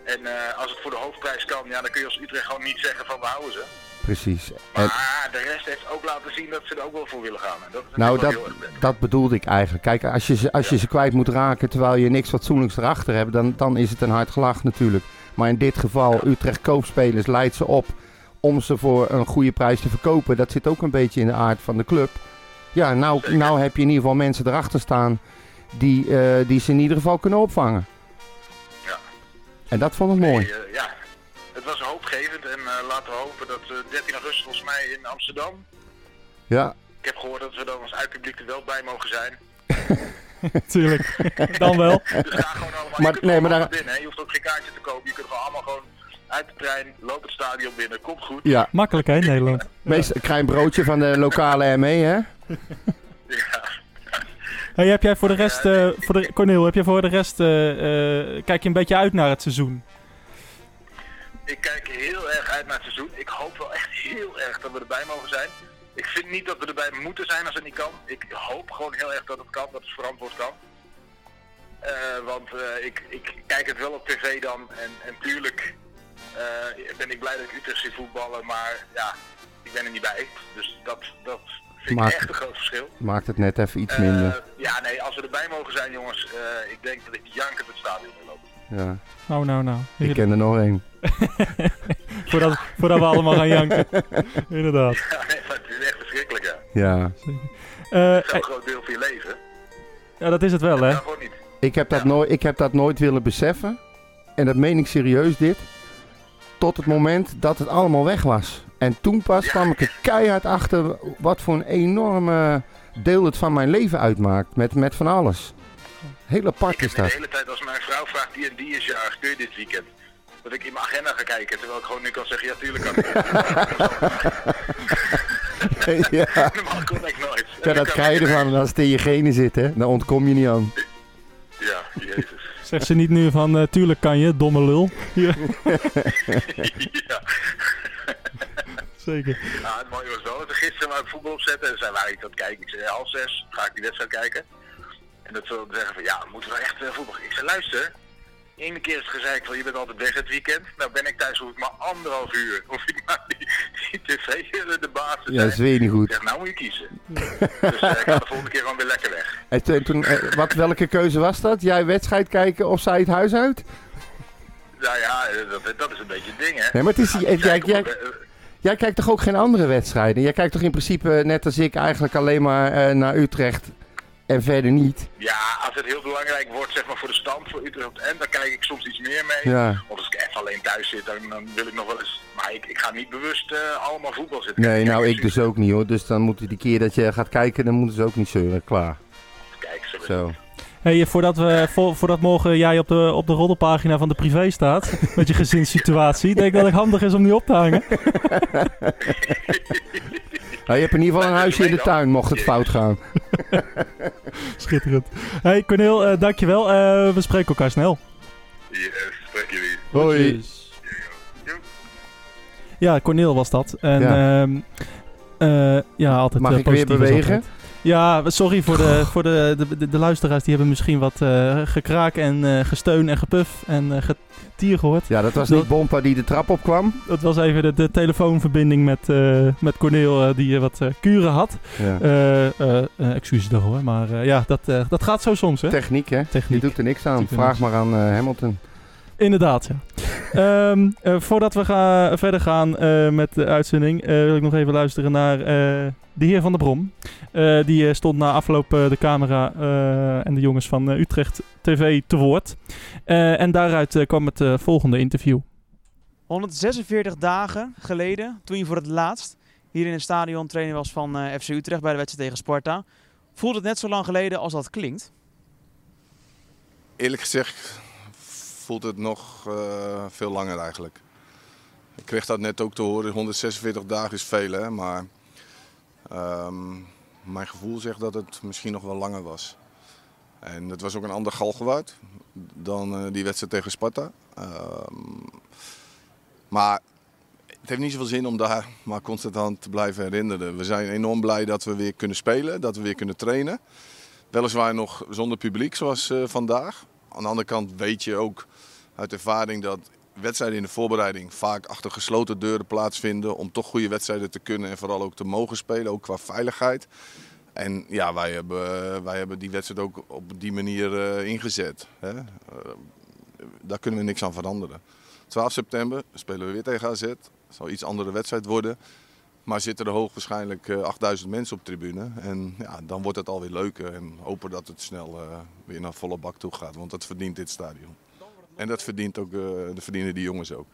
Speaker 1: En eh, als het voor de hoofdprijs kan, ja, dan kun je als Utrecht gewoon niet zeggen van we houden ze.
Speaker 2: Precies. En-
Speaker 1: Maar de rest heeft ook laten zien dat ze er ook wel voor willen gaan. En dat is
Speaker 2: Nou,
Speaker 1: natuurlijk wel
Speaker 2: dat,
Speaker 1: heel erg prettig.
Speaker 2: dat bedoelde ik eigenlijk. Kijk, als je, ze, als je ze kwijt moet raken terwijl je niks fatsoenlijks erachter hebt, dan, dan is het een hard gelach natuurlijk. Maar in dit geval, Utrecht koopspelers leidt ze op om ze voor een goede prijs te verkopen. Dat zit ook een beetje in de aard van de club. Ja, nou, nou heb je in ieder geval mensen erachter staan die, eh, die ze in ieder geval kunnen opvangen.
Speaker 1: Ja.
Speaker 2: En dat vond ik mooi.
Speaker 1: Eh, ja, het was hoopgevend. En eh, laten we hopen dat eh, 13 augustus volgens mij in Amsterdam.
Speaker 2: Ja,
Speaker 1: Ik heb gehoord dat we dan als uitpubliek er wel bij mogen zijn.
Speaker 3: Tuurlijk. Dan wel.
Speaker 1: Dus ga gewoon
Speaker 2: Maar-
Speaker 1: allemaal je kunt
Speaker 2: nee,
Speaker 1: gewoon
Speaker 2: maar daar-
Speaker 1: allemaal binnen. Hè. Je hoeft ook geen kaartje te kopen. Je kunt gewoon allemaal gewoon uit de trein, loop het stadion binnen, komt goed.
Speaker 2: ja.
Speaker 3: Makkelijk hè, Nederland.
Speaker 2: Meest, ik krijg een broodje van de lokale ME, hè?
Speaker 1: Ja.
Speaker 3: Hey, heb jij voor de rest, eh, voor de, Cornel, heb jij voor de rest, eh, eh, kijk je een beetje uit naar het seizoen?
Speaker 1: Ik kijk heel erg uit naar het seizoen. Ik hoop wel echt heel erg dat we erbij mogen zijn. Ik vind niet dat we erbij moeten zijn als het niet kan. Ik hoop gewoon heel erg dat het kan, dat het verantwoord kan. Eh, want eh, ik, ik kijk het wel op tv dan. En, en tuurlijk eh, ben ik blij dat ik Utrecht zie voetballen. Maar ja, ik ben er niet bij. Dus dat, dat vind
Speaker 2: Maar-
Speaker 1: ik echt een groot verschil.
Speaker 2: Maakt het net even iets
Speaker 1: Eh,
Speaker 2: minder.
Speaker 1: ja, nee, als we erbij mogen zijn, jongens. eh, ik denk dat ik jankend het stadion wil lopen.
Speaker 2: Ja.
Speaker 3: Nou, nou, nou.
Speaker 2: Ik eh, ken er nog één.
Speaker 3: Voordat, voordat we allemaal gaan janken. Inderdaad.
Speaker 1: Ja, nee, maar het is echt verschrikkelijk, ja.
Speaker 2: Ja.
Speaker 3: Eh, eh,
Speaker 1: Zo'n groot deel van je leven.
Speaker 3: ja, dat is het wel hè.
Speaker 1: Ja, gewoon niet.
Speaker 2: Ik heb, dat nooit, ik heb dat nooit willen beseffen. En dat meen ik serieus dit. Tot het moment dat het allemaal weg was. En toen pas kwam ik er keihard achter wat voor een enorme deel het van mijn leven uitmaakt. Met, met van alles. Heel apart
Speaker 1: Ik heb
Speaker 2: is
Speaker 1: de
Speaker 2: dat.
Speaker 1: hele tijd als mijn vrouw vraagt die en die is jarig, kun je dit weekend? Dat ik in mijn agenda ga kijken, terwijl ik gewoon nu kan zeggen, ja tuurlijk kan ik.
Speaker 2: ja.
Speaker 1: Normaal kon ik nooit.
Speaker 2: Ja, dat krijg je ervan als het in je genen zit, hè? Dan ontkom je niet aan.
Speaker 1: Ja, jezus.
Speaker 3: Zeg ze niet nu van, eh, tuurlijk kan je, domme lul. Ja,
Speaker 1: ja.
Speaker 3: zeker.
Speaker 1: Nou, het mooie was wel dat we gisteren wou ik voetbal opzetten en zei waar ik dat kijk. Ik zei half zes, ga ik die wedstrijd kijken. En dat ze dan zeggen van ja, moeten we echt eh, voetbal. Ik zei luister, ene keer is het gezeik van je bent altijd weg het weekend. Nou ben ik thuis, hoef ik maar anderhalf uur. Hoef ik maar die, die tv de baas te
Speaker 2: Ja, dat is
Speaker 1: zijn.
Speaker 2: weer niet
Speaker 1: Ik
Speaker 2: goed.
Speaker 1: zeg, nou moet je kiezen. dus eh, ik ga de volgende keer gewoon weer lekker weg.
Speaker 2: En toen, toen, eh, wat, welke keuze was dat? Jij wedstrijd kijken of zij het huis uit?
Speaker 1: Nou ja, eh, dat, dat is een beetje het ding, hè?
Speaker 2: Nee, maar het is-
Speaker 1: Gaat
Speaker 2: jij-
Speaker 1: kijken
Speaker 2: jij-
Speaker 1: op- eh,
Speaker 2: Jij kijkt toch ook geen andere wedstrijden? Jij kijkt toch in principe, eh, net als ik, eigenlijk alleen maar eh, naar Utrecht en verder niet?
Speaker 1: Ja, als het heel belangrijk wordt, zeg maar, voor de stand voor Utrecht en dan kijk ik soms iets meer mee.
Speaker 2: Ja.
Speaker 1: Want als ik echt alleen thuis zit, dan, dan wil ik nog wel eens... Maar ik, ik ga niet bewust eh, allemaal voetbal zitten.
Speaker 2: Nee,
Speaker 1: kijken.
Speaker 2: nou
Speaker 1: Kijk,
Speaker 2: ik dus ook niet hoor. Dus dan moeten die keer dat je gaat kijken, dan moeten ze ook niet zeuren. Klaar.
Speaker 1: Kijk, zo.
Speaker 2: Zo.
Speaker 3: Hey, eh, voordat, we, voor, voordat morgen jij op de, op de roddelpagina van de privé staat, met je gezinssituatie, denk ik dat het handig is om die op te hangen.
Speaker 2: Nou, je hebt in ieder geval een
Speaker 1: Nee,
Speaker 2: huisje in de
Speaker 1: nee dan.
Speaker 2: tuin, mocht het fout gaan.
Speaker 3: Schitterend. Hey, Cornel, eh, dankjewel. Eh, we spreken elkaar snel.
Speaker 1: Yes, dank jullie.
Speaker 2: Hoi.
Speaker 3: Ja, Cornel was dat. En
Speaker 2: Ja.
Speaker 3: ehm, eh, ja, altijd
Speaker 2: Mag
Speaker 3: eh,
Speaker 2: ik weer
Speaker 3: positief is
Speaker 2: bewegen?
Speaker 3: altijd. Ja, sorry voor, de, voor de, de, de, de luisteraars. Die hebben misschien wat eh, gekraak en eh, gesteun en gepuf en eh getier gehoord.
Speaker 2: Ja, dat was
Speaker 3: Dat-
Speaker 2: niet Bompa die de trap opkwam.
Speaker 3: Dat was even de, de telefoonverbinding met, eh, met Cornel eh, die eh, wat eh, kuren had.
Speaker 2: Ja.
Speaker 3: Eh, eh, eh, excuses daarvoor, maar eh, ja, dat, eh, dat gaat zo soms hè.
Speaker 2: Techniek, hè?
Speaker 3: Techniek.
Speaker 2: Die doet er niks aan.
Speaker 3: Doet er
Speaker 2: Vraag
Speaker 3: niks.
Speaker 2: maar aan eh, Hamilton.
Speaker 3: Inderdaad, ja. Ehm, eh, voordat we gaan verder gaan eh, met de uitzending, eh, wil ik nog even luisteren naar eh, de heer Van der Brom. Eh, die eh, stond na afloop eh, de camera eh, en de jongens van eh, Utrecht TV te woord. Eh, en daaruit eh, kwam het eh, volgende interview.
Speaker 4: 146 dagen geleden, toen je voor het laatst hier in het stadion trainer was van eh, FC Utrecht bij de wedstrijd tegen Sparta, voelt het net zo lang geleden als dat klinkt.
Speaker 5: Eerlijk gezegd voelt het nog eh, veel langer eigenlijk. Ik kreeg dat net ook te horen. 146 dagen is veel, hè? maar ehm, mijn gevoel zegt dat het misschien nog wel langer was. En het was ook een ander galgenwaard dan eh, die wedstrijd tegen Sparta. Ehm, maar het heeft niet zoveel zin om daar maar constant aan te blijven herinneren. We zijn enorm blij dat we weer kunnen spelen, dat we weer kunnen trainen. Weliswaar nog zonder publiek zoals eh, vandaag. Aan de andere kant weet je ook uit ervaring dat wedstrijden in de voorbereiding vaak achter gesloten deuren plaatsvinden. Om toch goede wedstrijden te kunnen en vooral ook te mogen spelen, ook qua veiligheid. En ja, wij hebben, eh, wij hebben die wedstrijd ook op die manier eh, ingezet. Hè? Eh, daar kunnen we niks aan veranderen. 12 september spelen we weer tegen AZ. Het zal een iets andere wedstrijd worden. Maar zitten er hoog waarschijnlijk eh, 8000 mensen op tribune. En ja, dan wordt het alweer leuker. En hopen dat het snel eh, weer naar volle bak toe gaat. Want dat verdient dit stadion. En dat verdient ook, eh, dat verdienen die jongens ook.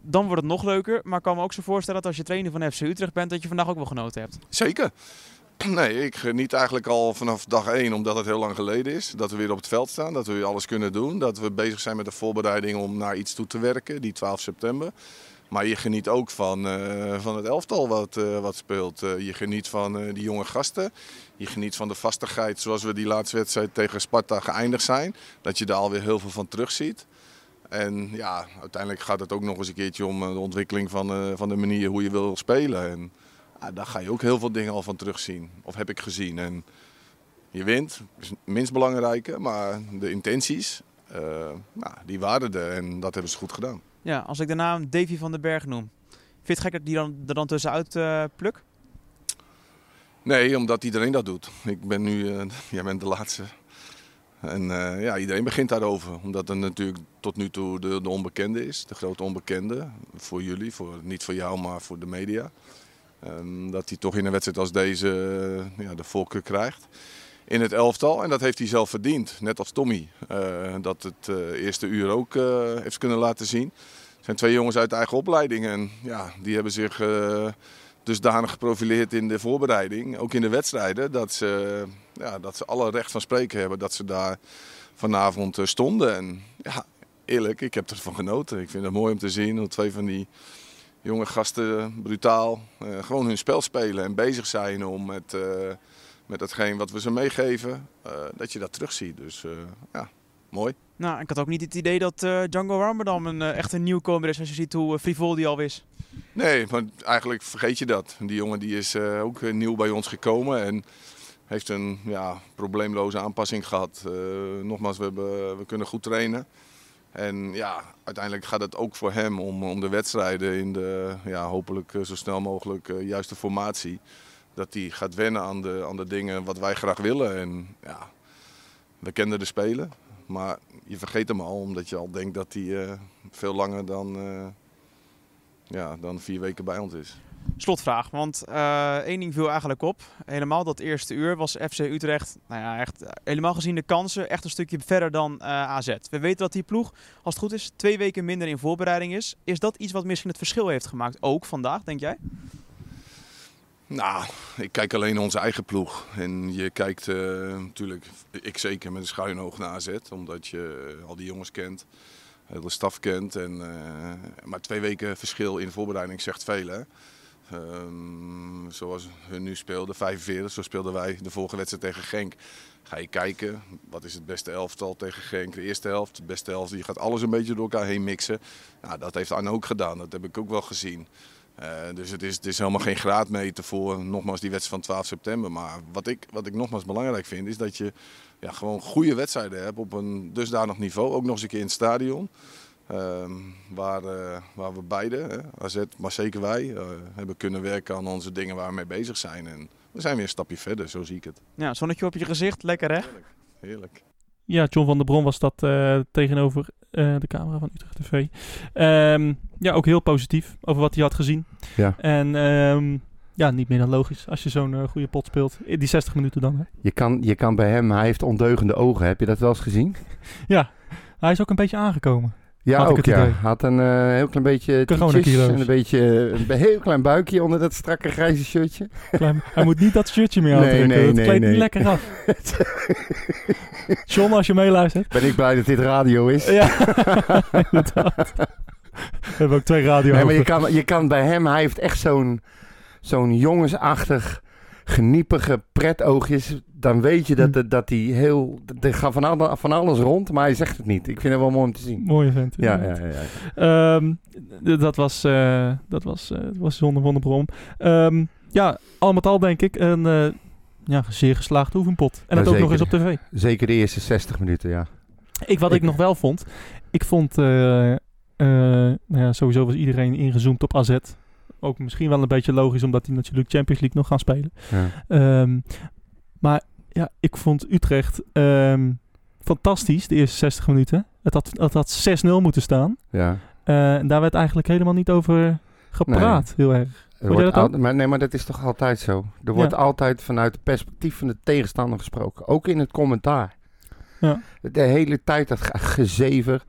Speaker 4: Dan wordt het nog leuker, maar ik kan me ook zo voorstellen dat als je trainer van FC Utrecht bent, dat je vandaag ook wel genoten hebt.
Speaker 5: Zeker. Nee, ik geniet eigenlijk al vanaf dag één, omdat het heel lang geleden is. Dat we weer op het veld staan, dat we weer alles kunnen doen. Dat we bezig zijn met de voorbereiding om naar iets toe te werken, die 12 september. Maar je geniet ook van, eh, van het elftal wat, eh, wat speelt. Eh, je geniet van eh, die jonge gasten. Je geniet van de vastigheid zoals we die laatste wedstrijd tegen Sparta geëindigd zijn. Dat je daar alweer heel veel van terugziet. En ja, uiteindelijk gaat het ook nog eens een keertje om eh, de ontwikkeling van, eh, van de manier hoe je wil spelen. En Ah, daar ga je ook heel veel dingen al van terugzien. Of heb ik gezien. En je wint, is het minst belangrijke, maar de intenties, eh, nou, die waren er en dat hebben ze goed gedaan.
Speaker 4: Ja, als ik de naam Davy van den Berg noem, vind je het gek dat ik die dan, er dan tussenuit eh, pluk?
Speaker 5: Nee, omdat iedereen dat doet. Ik ben nu, eh, jij bent de laatste. En eh, ja, iedereen begint daarover. Omdat het natuurlijk tot nu toe de, de onbekende is. De grote onbekende. Voor jullie, voor, niet voor jou, maar voor de media. Ehm, dat hij toch in een wedstrijd als deze eh, ja, de voorkeur krijgt. In het elftal. En dat heeft hij zelf verdiend. Net als Tommy. eh, dat het eh, eerste uur ook eh, heeft kunnen laten zien. Het zijn twee jongens uit eigen opleiding. En ja, die hebben zich... eh, dusdanig geprofileerd in de voorbereiding, ook in de wedstrijden, dat ze, ja, dat ze alle recht van spreken hebben dat ze daar vanavond eh, stonden. En ja, eerlijk, ik heb ervan genoten. Ik vind het mooi om te zien hoe twee van die jonge gasten brutaal eh, gewoon hun spel spelen en bezig zijn om met, eh, met datgene wat we ze meegeven, eh, dat je dat terugziet. Dus eh, ja, mooi.
Speaker 4: Nou, ik had ook niet het idee dat eh, Django Ramadan een, eh, echt een nieuwkomer is als je ziet hoe eh, frivol die al is.
Speaker 5: Nee, maar eigenlijk vergeet je dat. Die jongen die is eh, ook eh, nieuw bij ons gekomen en heeft een ja, probleemloze aanpassing gehad. Eh, nogmaals, we, hebben, we kunnen goed trainen. En ja, uiteindelijk gaat het ook voor hem om, om de wedstrijden in de ja, hopelijk eh, zo snel mogelijk eh, juiste formatie. Dat hij gaat wennen aan de, aan de dingen wat wij graag willen. En ja, we kenden de spelen, maar je vergeet hem al omdat je al denkt dat hij eh, veel langer dan... eh, ja, dan vier weken bij ons is.
Speaker 4: Slotvraag, want eh, één ding viel eigenlijk op. Helemaal dat eerste uur was FC Utrecht, nou ja, echt, eh, helemaal gezien de kansen, echt een stukje verder dan eh, AZ. We weten dat die ploeg, als het goed is, twee weken minder in voorbereiding is. Is dat iets wat misschien het verschil heeft gemaakt, ook vandaag, denk jij?
Speaker 5: Nou, ik kijk alleen naar onze eigen ploeg. En je kijkt eh, natuurlijk, ik zeker met een schuin oog naar AZ, omdat je eh, al die jongens kent, heel de staf kent. En, eh, maar twee weken verschil in voorbereiding zegt veel, hè. Ehm, zoals hun nu speelden, 45, zo speelden wij de vorige wedstrijd tegen Genk. Ga je kijken, wat is het beste elftal tegen Genk? De eerste helft, de beste helft. Je gaat alles een beetje door elkaar heen mixen. Nou, dat heeft Arne ook gedaan, dat heb ik ook wel gezien. Eh, dus het is, het is helemaal geen graadmeter voor nogmaals die wedstrijd van 12 september. Maar wat ik, wat ik nogmaals belangrijk vind, is dat je ja, gewoon goede wedstrijden hebt op een dusdanig niveau. Ook nog eens een keer in het stadion. ehm, waar, eh, waar we beide, hè, AZ, maar zeker wij, eh, hebben kunnen werken aan onze dingen waar we mee bezig zijn. En we zijn weer een stapje verder, zo zie ik het.
Speaker 4: Ja, zonnetje op je gezicht, lekker hè?
Speaker 5: Heerlijk.
Speaker 3: Ja, John van der Bron was dat eh, tegenover eh, de camera van Utrecht TV. Ehm, ja, ook heel positief over wat hij had gezien.
Speaker 2: Ja.
Speaker 3: En ehm, ja, niet meer dan logisch als je zo'n eh, goede pot speelt. In die 60 minuten dan. Hè.
Speaker 2: Je kan, je kan bij hem, hij heeft ondeugende ogen. Heb je dat wel eens gezien?
Speaker 3: Hij is ook een beetje aangekomen.
Speaker 2: Ja,
Speaker 3: Had ik
Speaker 2: ook
Speaker 3: het
Speaker 2: ja.
Speaker 3: idee.
Speaker 2: Had een eh, heel klein beetje
Speaker 3: Corona
Speaker 2: tietjes
Speaker 3: kilo's.
Speaker 2: en een beetje eh, een heel klein buikje onder dat strakke grijze shirtje.
Speaker 3: Klein- hij moet niet dat shirtje meer
Speaker 2: Nee,
Speaker 3: aantrekken.
Speaker 2: nee,
Speaker 3: dat
Speaker 2: nee,
Speaker 3: kleedt niet
Speaker 2: nee.
Speaker 3: lekker af. John, als je meeluistert.
Speaker 2: Ben ik blij dat dit radio is.
Speaker 3: Ja, inderdaad. We hebben ook twee radio
Speaker 2: Nee, maar je
Speaker 3: open.
Speaker 2: kan, je kan bij hem, hij heeft echt zo'n zo'n jongensachtig, geniepige pretoogjes. Dan weet je dat,
Speaker 3: Hm.
Speaker 2: het- dat hij heel... Er gaat van, alle- van alles rond, maar hij zegt het niet. Ik vind het wel mooi om te zien.
Speaker 3: Mooie vent.
Speaker 2: Ja,
Speaker 3: inderdaad.
Speaker 2: ja, ja. ja.
Speaker 3: Ehm, d- dat was, eh dat was, eh, dat was John van der Brom. Ehm, ja, al met al denk ik een eh, ja, zeer geslaagde oefenpot. En
Speaker 2: Ja,
Speaker 3: dat ook nog eens op
Speaker 2: zeker.
Speaker 3: tv.
Speaker 2: Zeker de eerste 60 minuten, ja.
Speaker 3: Ik, wat ik,
Speaker 2: Ik-
Speaker 3: nog wel vond, ik vond eh, eh, nou ja, sowieso was iedereen ingezoomd op AZ. Ook misschien wel een beetje logisch, omdat die natuurlijk Champions League nog gaan spelen.
Speaker 2: ja.
Speaker 3: Ehm, maar ja, ik vond Utrecht ehm, fantastisch, de eerste 60 minuten. Het had, het had 6-0 moeten staan.
Speaker 2: ja.
Speaker 3: Eh, en daar werd eigenlijk helemaal niet over gepraat, heel erg.
Speaker 2: Er
Speaker 3: Vond jij
Speaker 2: wordt
Speaker 3: dat ook?
Speaker 2: al- maar, nee, maar dat is toch altijd zo? Er wordt
Speaker 3: Ja.
Speaker 2: altijd vanuit het perspectief van de tegenstander gesproken. Ook in het commentaar.
Speaker 3: Ja.
Speaker 2: De hele tijd dat ge- gezever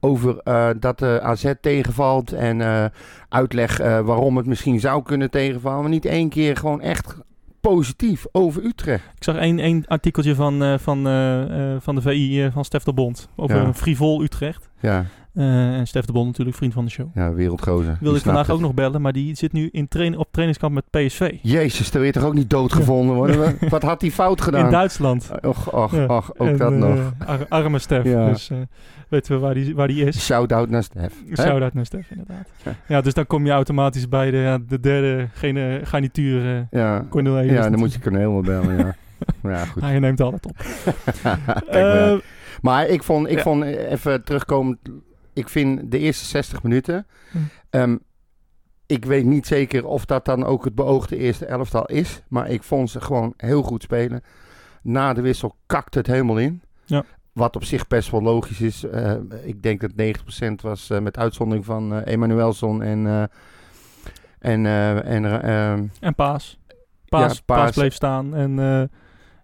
Speaker 2: over eh, dat de AZ tegenvalt. En eh, uitleg eh, waarom het misschien zou kunnen tegenvallen. Maar niet één keer gewoon echt positief over Utrecht.
Speaker 3: Ik zag één, één artikeltje van, eh, van, eh, eh, van de VI eh, van Stef de Bond over
Speaker 2: Ja.
Speaker 3: een frivol Utrecht.
Speaker 2: Ja,
Speaker 3: Eh, en Stef de Bond natuurlijk vriend van de show.
Speaker 2: ja wereldgozer. Die
Speaker 3: Wilde ik
Speaker 2: snapt
Speaker 3: vandaag
Speaker 2: het.
Speaker 3: ook nog bellen, maar die zit nu in train op trainingskamp met PSV.
Speaker 2: Jezus, daar weer toch ook niet doodgevonden worden? Wat had hij fout
Speaker 3: In
Speaker 2: gedaan?
Speaker 3: Duitsland.
Speaker 2: Och, och,
Speaker 3: Ja.
Speaker 2: och, ook
Speaker 3: En,
Speaker 2: dat
Speaker 3: eh,
Speaker 2: nog.
Speaker 3: ar- arme Stef.
Speaker 2: Ja.
Speaker 3: Dus eh, weten we waar die, waar die is.
Speaker 2: Shout-out naar Stef. Hè?
Speaker 3: Shout-out naar Stef, inderdaad. Ja, dus dan kom je automatisch bij de, ja, de derde gene, garnituur. eh,
Speaker 2: Ja.
Speaker 3: Cornel Evers
Speaker 2: Ja, dan
Speaker 3: natuurlijk.
Speaker 2: moet je Cornel wel bellen, ja. Maar ja, goed.
Speaker 3: Hij neemt altijd op.
Speaker 2: Kijk maar.
Speaker 3: Eh,
Speaker 2: Maar ik vond, ik
Speaker 3: Ja.
Speaker 2: vond eh, even terugkomend, ik vind de eerste 60 minuten.
Speaker 3: Hm.
Speaker 2: ehm, ik weet niet zeker of dat dan ook het beoogde eerste elftal is. Maar ik vond ze gewoon heel goed spelen. Na de wissel kakte het helemaal in.
Speaker 3: Ja.
Speaker 2: Wat op zich best wel logisch is. Eh, ik denk dat 90% was eh, met uitzondering van eh, Emanuelson en. eh, en, eh, en eh, ehm,
Speaker 3: En Paas. Paas,
Speaker 2: Ja,
Speaker 3: paas.
Speaker 2: Paas.
Speaker 3: bleef staan. En, eh,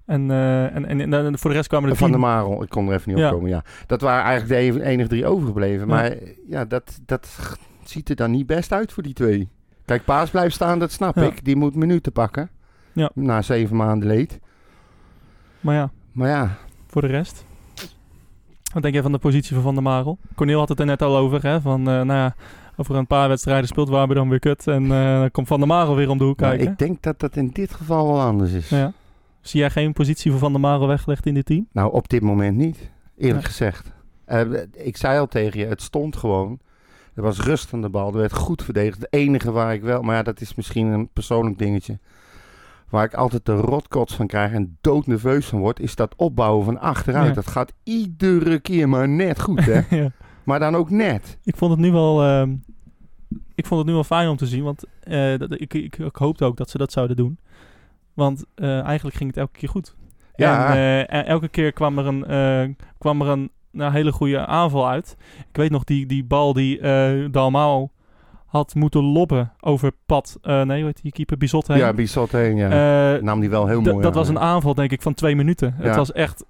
Speaker 3: en, eh, en, en, en, en voor de rest kwamen er
Speaker 2: Van
Speaker 3: tien.
Speaker 2: der Marel, ik kon er even niet
Speaker 3: Ja.
Speaker 2: op komen, ja. Dat waren eigenlijk de e- enige drie overgebleven.
Speaker 3: Ja.
Speaker 2: Maar eh, ja, dat, dat ziet er dan niet best uit voor die twee. Kijk, Paas blijft staan, dat snap
Speaker 3: Ja.
Speaker 2: ik. Die moet minuten pakken.
Speaker 3: Ja.
Speaker 2: Na zeven maanden leed.
Speaker 3: Maar ja,
Speaker 2: Maar ja,
Speaker 3: voor de rest. Wat denk jij van de positie van Van der Marel? Corneel had het er net al over. Hè? Van, eh, nou ja, over een paar wedstrijden speelt waar we dan weer kut. En eh, dan komt Van der Marel weer om de hoek
Speaker 2: maar
Speaker 3: kijken.
Speaker 2: Nou, ik denk dat dat in dit geval wel anders is.
Speaker 3: Ja. Zie jij geen positie voor Van der Marel weggelegd in dit team?
Speaker 2: Nou, op dit moment niet. Eerlijk
Speaker 3: Nee.
Speaker 2: gezegd. Eh, ik zei al tegen je, het stond gewoon. Er was rust aan de bal. Er werd goed verdedigd. Het enige waar ik wel... Maar ja, dat is misschien een persoonlijk dingetje. Waar ik altijd de rotkots van krijg en doodnerveus van word... is dat opbouwen van achteruit.
Speaker 3: Ja.
Speaker 2: Dat gaat iedere keer maar net goed, hè?
Speaker 3: ja.
Speaker 2: maar dan ook net.
Speaker 3: Ik vond het nu wel. ehm, ik vond het nu wel fijn om te zien, want eh, dat, ik, ik, ik hoopte ook dat ze dat zouden doen. Want eh, eigenlijk ging het elke keer goed.
Speaker 2: Ja.
Speaker 3: En, eh, en elke keer kwam er een, eh, kwam er een nou, hele goede aanval uit. Ik weet nog die, die bal die eh Dalmau had moeten lobben over pad. eh, nee, hoe heet die keeper? Bizot heen.
Speaker 2: Ja, Bissot heen, ja.
Speaker 3: Eh,
Speaker 2: Nam die wel heel
Speaker 3: d-
Speaker 2: mooi
Speaker 3: dat
Speaker 2: aan,
Speaker 3: was
Speaker 2: hè?
Speaker 3: een aanval, denk ik, van twee minuten. Het
Speaker 2: Ja.
Speaker 3: was echt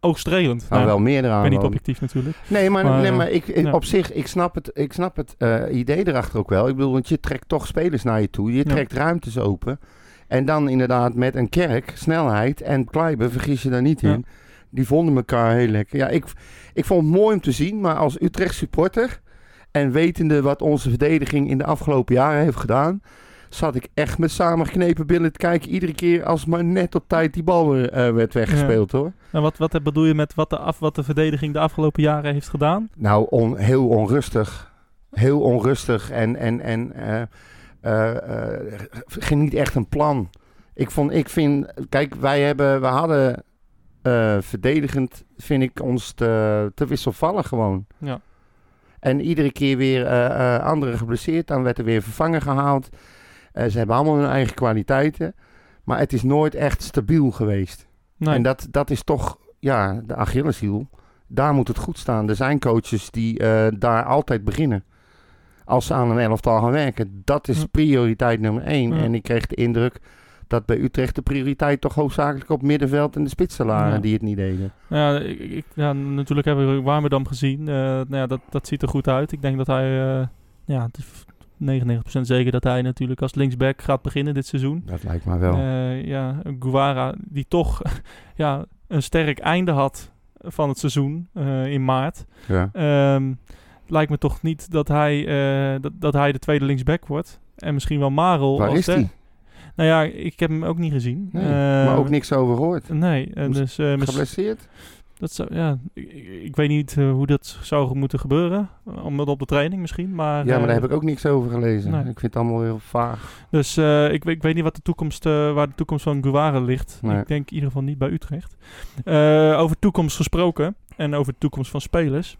Speaker 3: oogstrelend.
Speaker 2: Nou,
Speaker 3: Nou,
Speaker 2: wel meerdere
Speaker 3: Ik ben
Speaker 2: aanvallen.
Speaker 3: niet objectief natuurlijk.
Speaker 2: Nee, maar,
Speaker 3: Maar,
Speaker 2: nee,
Speaker 3: eh,
Speaker 2: maar ik, ik-
Speaker 3: ja.
Speaker 2: op zich, ik snap het, ik snap het eh, idee erachter ook wel. Ik bedoel, want je trekt toch spelers naar je toe. Je
Speaker 3: Ja.
Speaker 2: trekt ruimtes open. En dan inderdaad met een kerk, snelheid en Kleiber, vergis je daar niet in. Die vonden elkaar heel lekker. Ja, ik, ik vond het mooi om te zien, maar als Utrecht supporter... en wetende wat onze verdediging in de afgelopen jaren heeft gedaan... zat ik echt met samengeknepen billen te kijken... iedere keer als maar net op tijd die bal weer, eh, werd weggespeeld, hoor.
Speaker 3: En Nou, wat, wat bedoel je met wat de, af, wat de verdediging de afgelopen jaren heeft gedaan?
Speaker 2: Nou, on- heel onrustig. Heel onrustig en, en, en eh, eh, eh, geen niet echt een plan. Ik, vond, ik vind, kijk, wij hebben, we hadden eh, verdedigend, vind ik, ons te, te wisselvallig gewoon.
Speaker 3: Ja.
Speaker 2: En iedere keer weer eh, eh, anderen geblesseerd, dan werd er weer vervangen gehaald. Eh, ze hebben allemaal hun eigen kwaliteiten, maar het is nooit echt stabiel geweest.
Speaker 3: Nee.
Speaker 2: En dat, dat is toch ja, de Achilleshiel, daar moet het goed staan. Er zijn coaches die eh, daar altijd beginnen. Als ze aan een elftal gaan werken. Dat is
Speaker 3: Ja.
Speaker 2: prioriteit nummer één.
Speaker 3: Ja.
Speaker 2: En ik kreeg de indruk dat bij Utrecht de prioriteit toch hoofdzakelijk op middenveld en de spitsen lagen
Speaker 3: Ja.
Speaker 2: die het niet deden.
Speaker 3: Ja, ik, ik- ja, natuurlijk hebben we Warmerdam gezien. Eh, nou ja, dat, dat ziet er goed uit. Ik denk dat hij, eh, ja, het is 99% zeker dat hij natuurlijk als linksback gaat beginnen dit seizoen.
Speaker 2: Dat lijkt me wel.
Speaker 3: Eh, ja, Guevara, die toch ja, een sterk einde had van het seizoen eh, in maart.
Speaker 2: ja.
Speaker 3: Ehm, het lijkt me toch niet dat hij, eh, dat, dat hij de tweede linksback wordt. En misschien wel Marel.
Speaker 2: Waar
Speaker 3: als
Speaker 2: is
Speaker 3: de-
Speaker 2: die?
Speaker 3: Nou ja, ik heb hem ook niet gezien.
Speaker 2: Nee,
Speaker 3: Eh,
Speaker 2: maar ook niks over gehoord.
Speaker 3: Nee, eh,
Speaker 2: Moest-
Speaker 3: dus eh, mis-
Speaker 2: Geblesseerd?
Speaker 3: dat zou, ja, ik, ik- ik weet niet eh, hoe dat zou moeten gebeuren. Omdat op de training misschien. Maar,
Speaker 2: Ja, maar
Speaker 3: eh,
Speaker 2: daar heb ik ook niks over gelezen.
Speaker 3: nee.
Speaker 2: Ik vind het allemaal heel vaag.
Speaker 3: Dus eh, ik, weet- ik weet niet wat de toekomst, eh, waar de toekomst van Guare ligt.
Speaker 2: Nee.
Speaker 3: Ik denk in ieder geval niet bij Utrecht. Eh, over toekomst gesproken en over de toekomst van spelers.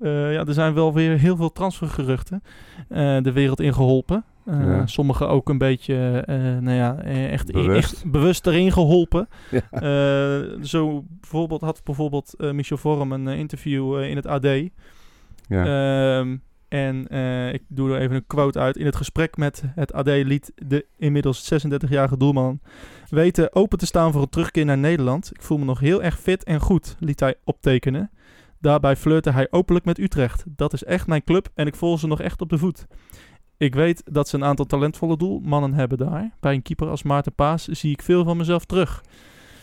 Speaker 3: Eh, ja, er zijn wel weer heel veel transfergeruchten eh, de wereld ingeholpen. Eh
Speaker 2: Ja.
Speaker 3: Sommigen ook een beetje, eh, nou ja, eh, echt,
Speaker 2: Bewust.
Speaker 3: echt bewust erin geholpen.
Speaker 2: Ja.
Speaker 3: Eh, zo bijvoorbeeld had bijvoorbeeld eh, Michel Vorm een eh, interview eh, in het AD.
Speaker 2: Ja.
Speaker 3: Ehm, en eh, ik doe er even een quote uit. In het gesprek met het AD liet de inmiddels 36-jarige doelman weten open te staan voor een terugkeer naar Nederland. Ik voel me nog heel erg fit en goed, liet hij optekenen. Daarbij flirte hij openlijk met Utrecht. Dat is echt mijn club en ik volg ze nog echt op de voet. Ik weet dat ze een aantal talentvolle doelmannen hebben daar. Bij een keeper als Maarten Paas zie ik veel van mezelf terug.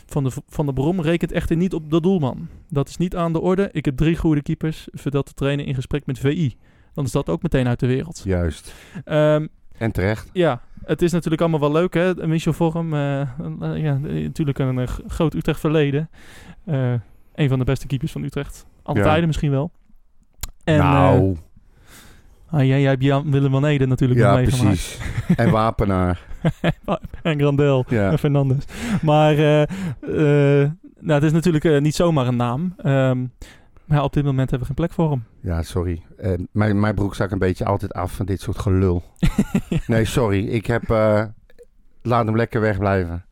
Speaker 3: Van de, V- van de Brom rekent echter niet op de doelman. Dat is niet aan de orde. Ik heb drie goede keepers, vertelt de trainer in gesprek met VI. Dan is dat ook meteen uit de wereld.
Speaker 2: Juist.
Speaker 3: Ehm,
Speaker 2: En terecht.
Speaker 3: ja, het is natuurlijk allemaal wel leuk, hè? Michel Vorm, eh, eh, ja, eh, natuurlijk een eh, g- groot Utrecht verleden. Eh, een van de beste keepers van Utrecht. Alle
Speaker 2: Ja.
Speaker 3: tijden misschien wel. En, eh,
Speaker 2: nou,
Speaker 3: ah, jij, jij hebt Jan Willem van Ede natuurlijk
Speaker 2: ja,
Speaker 3: nog meegemaakt.
Speaker 2: precies. en Wapenaar.
Speaker 3: en Grandel.
Speaker 2: Ja.
Speaker 3: en Fernandes. Maar eh, eh, nou, het is natuurlijk eh, niet zomaar een naam. Ehm, maar op dit moment hebben we geen plek voor hem.
Speaker 2: Ja, sorry. Eh, mijn, mijn broek zak een beetje altijd af van dit soort gelul. Nee, sorry. Ik heb... eh, laat hem lekker wegblijven.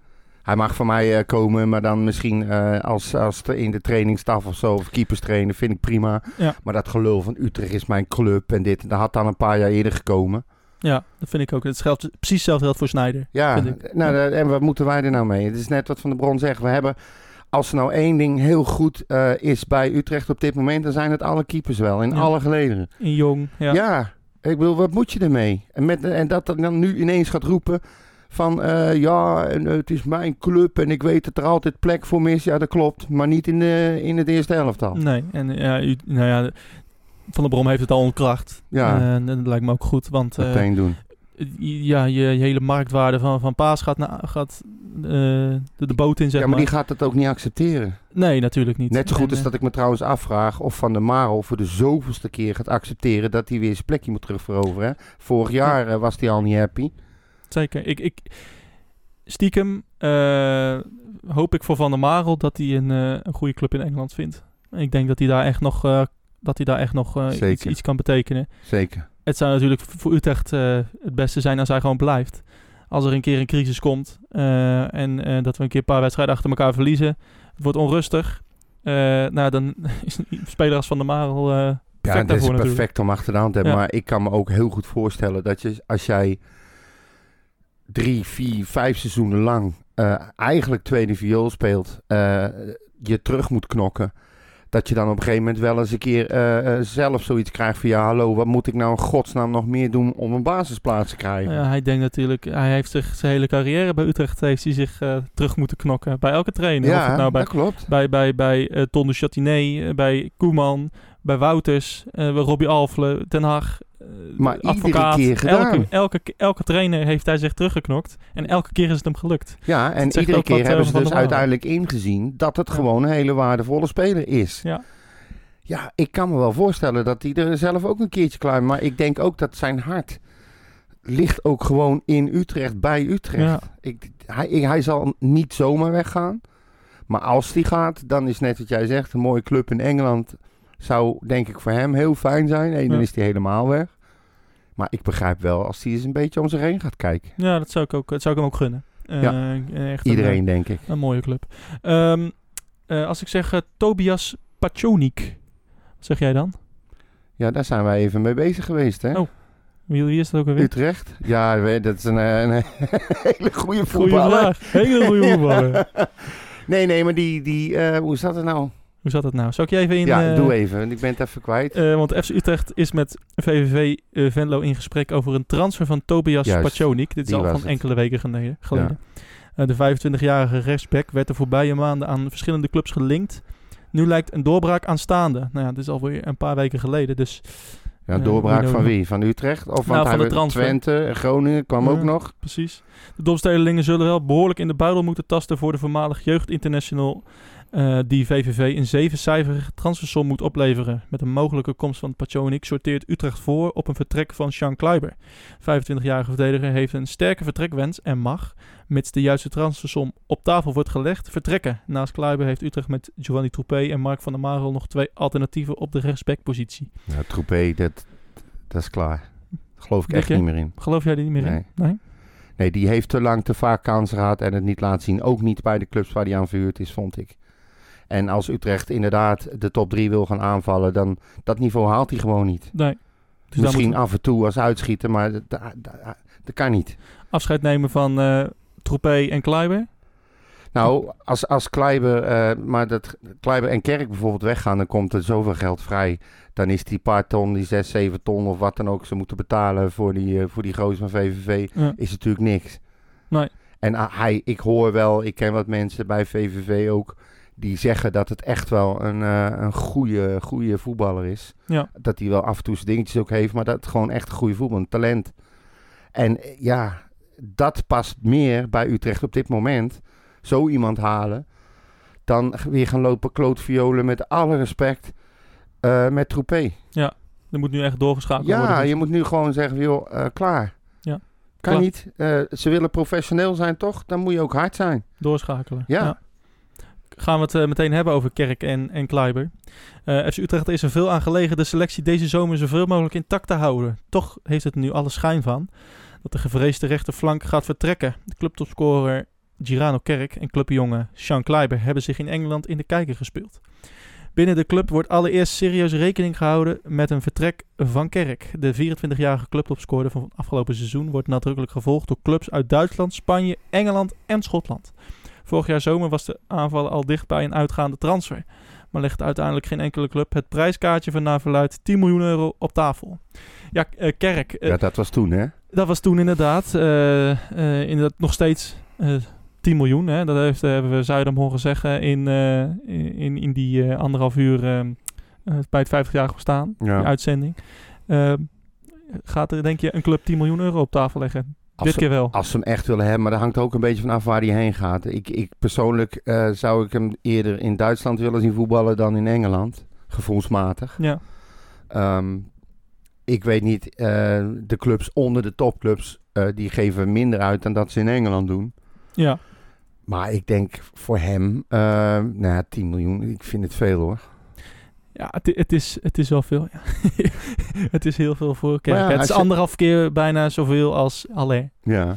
Speaker 2: Hij mag van mij eh, komen, maar dan misschien eh, als, als tra- in de trainingstaf of zo. Of keepers trainen, vind ik prima.
Speaker 3: Ja.
Speaker 2: Maar dat gelul van Utrecht is mijn club en dit. Dat had dan een paar jaar eerder gekomen.
Speaker 3: Ja, dat vind ik ook. Het geldt precies hetzelfde geldt voor Snijder.
Speaker 2: Ja,
Speaker 3: Vind ik.
Speaker 2: nou, daar- en wat moeten wij er nou mee? Het is net wat Van de Bron zegt. We hebben, als er nou één ding heel goed eh, is bij Utrecht op dit moment... dan zijn het alle keepers wel, in
Speaker 3: Ja.
Speaker 2: alle gelederen.
Speaker 3: In Jong. Ja.
Speaker 2: Ja. ik bedoel, wat moet je ermee? En, met, en dat dat dan nu ineens gaat roepen van... eh, ja, en, eh, het is mijn club en ik weet dat er altijd plek voor me is. Ja, dat klopt, maar niet in, de, in het eerste elftal.
Speaker 3: Nee. En ja, u, nou ja, Van der Brom heeft het al ontkracht.
Speaker 2: Ja.
Speaker 3: Eh, En dat lijkt me ook goed, want eh,
Speaker 2: Meteen doen.
Speaker 3: ja, je, je hele marktwaarde van, van Paas gaat, na, gaat eh, de, de boot in, zeg
Speaker 2: Ja, maar die gaat dat ook niet accepteren.
Speaker 3: Nee, natuurlijk niet.
Speaker 2: Net zo goed
Speaker 3: En, eh,
Speaker 2: is dat ik me trouwens afvraag of Van der Marel voor de zoveelste keer gaat accepteren dat hij weer zijn plekje moet terugveroveren. hè. Vorig jaar eh, was hij al niet happy.
Speaker 3: Zeker. Ik, ik, stiekem eh, hoop ik voor Van der Marel dat hij een, eh, een goede club in Engeland vindt. Ik denk dat hij daar echt nog, eh, dat hij daar echt nog eh, iets,
Speaker 2: Zeker.
Speaker 3: iets kan betekenen.
Speaker 2: Zeker.
Speaker 3: Het zou natuurlijk v- voor Utrecht eh, het beste zijn als hij gewoon blijft. Als er een keer een crisis komt eh, en eh, dat we een keer een paar wedstrijden achter elkaar verliezen. Het wordt onrustig. Eh, nou, dan is een speler als Van der Marel... eh,
Speaker 2: Ja,
Speaker 3: Perfect
Speaker 2: dat is
Speaker 3: daarvoor
Speaker 2: perfect
Speaker 3: natuurlijk.
Speaker 2: om achter de hand te hebben.
Speaker 3: Ja.
Speaker 2: Maar ik kan me ook heel goed voorstellen dat je, als jij drie, vier, vijf seizoenen lang eh, eigenlijk tweede viool speelt, eh, je terug moet knokken. Dat je dan op een gegeven moment wel eens een keer eh, eh, zelf zoiets krijgt van ja, hallo, wat moet ik nou in godsnaam nog meer doen om een basisplaats te krijgen?
Speaker 3: Ja, hij denkt natuurlijk, hij heeft zich zijn hele carrière bij Utrecht heeft hij zich eh, terug moeten knokken. Bij elke trainer. of het nou bij,
Speaker 2: dat klopt.
Speaker 3: bij, bij, bij eh, Ton de Chatinet, eh, bij Koeman, bij Wouters, eh, bij Robbie Alfle, Ten Hag. eh,
Speaker 2: Maar
Speaker 3: de
Speaker 2: iedere keer gedaan.
Speaker 3: Elke, elke, elke trainer heeft hij zich teruggeknokt. En elke keer is het hem gelukt.
Speaker 2: Ja, en
Speaker 3: zegt
Speaker 2: iedere
Speaker 3: ook wat,
Speaker 2: keer
Speaker 3: eh,
Speaker 2: hebben ze
Speaker 3: van
Speaker 2: dus
Speaker 3: de Waal.
Speaker 2: uiteindelijk ingezien dat het
Speaker 3: Ja.
Speaker 2: gewoon een hele waardevolle speler is.
Speaker 3: Ja.
Speaker 2: Ja, ik kan me wel voorstellen dat hij er zelf ook een keertje klaar Maar ik denk ook dat zijn hart ligt ook gewoon in Utrecht, bij Utrecht.
Speaker 3: Ja.
Speaker 2: Ik, hij, ik- hij zal niet zomaar weggaan. Maar als hij gaat, dan is net wat jij zegt, een mooie club in Engeland zou denk ik voor hem heel fijn zijn. En dan
Speaker 3: Ja.
Speaker 2: is hij helemaal weg. Maar ik begrijp wel als hij eens een beetje om zich heen gaat kijken.
Speaker 3: Ja, dat zou ik, ook, dat zou ik hem ook gunnen. Eh,
Speaker 2: Ja.
Speaker 3: echt een,
Speaker 2: Iedereen, denk ik.
Speaker 3: eh, Een, mooie club. Ehm, Eh, als ik zeg eh, Tobias Pachonik, wat zeg jij dan?
Speaker 2: Ja, daar zijn wij even mee bezig geweest, hè?
Speaker 3: Oh. Wie, wie is dat ook alweer?
Speaker 2: Utrecht? Ja, we- dat is een, eh, een hele goede
Speaker 3: Goeie
Speaker 2: voetballer.
Speaker 3: vraag. Hele goede voetballer.
Speaker 2: nee, nee, maar die, die eh, hoe is dat er nou?
Speaker 3: Hoe zat het nou? Zal ik je even in...
Speaker 2: ja,
Speaker 3: eh,
Speaker 2: doe even, want ik ben het even kwijt.
Speaker 3: eh, want FC Utrecht is met VVV eh, Venlo in gesprek over een transfer van Tobias
Speaker 2: Juist,
Speaker 3: Pachonik. Dit is
Speaker 2: die
Speaker 3: al van
Speaker 2: was het.
Speaker 3: enkele weken geleden. geleden. Eh, de 25-jarige rechtsback werd de voorbije maanden aan verschillende clubs gelinkt. Nu lijkt een doorbraak aanstaande. Nou ja, dit is alweer een paar weken geleden, dus
Speaker 2: ja,
Speaker 3: eh,
Speaker 2: doorbraak
Speaker 3: Mino-
Speaker 2: van wie? Van Utrecht? Of want
Speaker 3: Nou,
Speaker 2: hij
Speaker 3: van de
Speaker 2: werd-
Speaker 3: transfer.
Speaker 2: Twente, Groningen kwam
Speaker 3: Ja.
Speaker 2: ook nog.
Speaker 3: precies. De Domstedelingen zullen wel behoorlijk in de buidel moeten tasten voor de voormalig jeugdinternational eh, die VVV een zevencijferige transfersom moet opleveren. Met een mogelijke komst van Pachonik sorteert Utrecht voor op een vertrek van Sean Kluiber. 25-jarige verdediger heeft een sterke vertrekwens en mag, mits de juiste transfersom op tafel wordt gelegd, vertrekken. Naast Kluiber heeft Utrecht met Giovanni Troepé en Mark van der Marel nog twee alternatieven op de rechtsbackpositie.
Speaker 2: Ja, Troepé, dat, dat is klaar. Daar geloof ik
Speaker 3: Denk
Speaker 2: echt
Speaker 3: je?
Speaker 2: niet meer in.
Speaker 3: Geloof jij er niet meer in?
Speaker 2: Nee.
Speaker 3: Nee?
Speaker 2: Nee, die heeft te lang te vaak kansen gehad en het niet laten zien. Ook niet bij de clubs waar hij aan verhuurd is, vond ik. En als Utrecht inderdaad de top 3 wil gaan aanvallen, dan dat niveau haalt hij gewoon niet.
Speaker 3: Nee. Dus daar
Speaker 2: Misschien
Speaker 3: moeten
Speaker 2: af en toe als uitschieter, maar dat, dat, dat- dat kan niet.
Speaker 3: we afscheid nemen van eh Troepé en Kluiber.
Speaker 2: Nou, als, als Kleiber, eh, maar dat Kleiber en Kerk bijvoorbeeld weggaan, dan komt er zoveel geld vrij. Dan is die paar ton, die 6, 7 ton of wat dan ook ze moeten betalen voor die, eh, voor die gozer van VVV,
Speaker 3: Ja.
Speaker 2: is natuurlijk niks.
Speaker 3: Nee.
Speaker 2: En ah, hij, ik hoor wel, ik ken wat mensen bij VVV ook, die zeggen dat het echt wel een, eh, een goede, goede voetballer is.
Speaker 3: Ja.
Speaker 2: Dat hij wel af en toe zijn dingetjes ook heeft, maar dat het gewoon echt een goede voetballer, een talent. En eh, ja, dat past meer bij Utrecht op dit moment zo iemand halen. Dan weer gaan lopen klootviolen met alle respect eh, met Troepé.
Speaker 3: Er moet nu echt doorgeschakeld worden.
Speaker 2: Ja,
Speaker 3: Dus-
Speaker 2: je moet nu gewoon zeggen, joh, eh, klaar.
Speaker 3: Ja,
Speaker 2: Kan
Speaker 3: klaar.
Speaker 2: niet. Eh, ze willen professioneel zijn, toch? Dan moet je ook hard zijn.
Speaker 3: Doorschakelen.
Speaker 2: Ja.
Speaker 3: Gaan we het eh, meteen hebben over Kerk en, en Kleiber. Eh, FC Utrecht is er veel aan gelegen de selectie deze zomer zoveel mogelijk intact te houden. Toch heeft het er nu alle schijn van dat de gevreesde rechterflank gaat vertrekken. De clubtopscorer Girano Kerk en clubjongen Sean Kleiber hebben zich in Engeland in de kijker gespeeld. Binnen de club wordt allereerst serieus rekening gehouden met een vertrek van Kerk. De 24-jarige clubtopscorer van het afgelopen seizoen wordt nadrukkelijk gevolgd door clubs uit Duitsland, Spanje, Engeland en Schotland. Vorig jaar zomer was de aanval al dicht bij een uitgaande transfer. Maar legt uiteindelijk geen enkele club het prijskaartje van naar verluidt 10 miljoen euro op tafel. Ja, eh, Kerk, eh,
Speaker 2: ja, dat was toen, hè?
Speaker 3: dat was toen inderdaad. eh, eh, inderdaad nog steeds eh 10 miljoen. Hè? Dat heeft, eh, hebben we Zuidam horen zeggen in, eh, in, in die eh, anderhalf uur eh, eh, bij het 50-jarig bestaan.
Speaker 2: Ja.
Speaker 3: Die uitzending. Eh, gaat er denk je een club 10 miljoen euro op tafel leggen?
Speaker 2: Als
Speaker 3: Dit
Speaker 2: ze,
Speaker 3: keer wel.
Speaker 2: als ze hem echt willen hebben, maar dat hangt ook een beetje vanaf waar hij heen gaat. Ik, ik persoonlijk eh, zou ik hem eerder in Duitsland willen zien voetballen dan in Engeland. Gevoelsmatig.
Speaker 3: Ja,
Speaker 2: Ehm, ik weet niet, eh, de clubs onder de topclubs, eh, die geven minder uit dan dat ze in Engeland doen.
Speaker 3: ja.
Speaker 2: Maar ik denk voor hem, eh nou ja, 10 miljoen, ik vind het veel hoor.
Speaker 3: Ja, het, het, is, het is wel veel. ja. het is heel veel voor Kerk.
Speaker 2: Maar ja,
Speaker 3: het is
Speaker 2: als je-
Speaker 3: anderhalf keer bijna zoveel als Haller.
Speaker 2: Ja,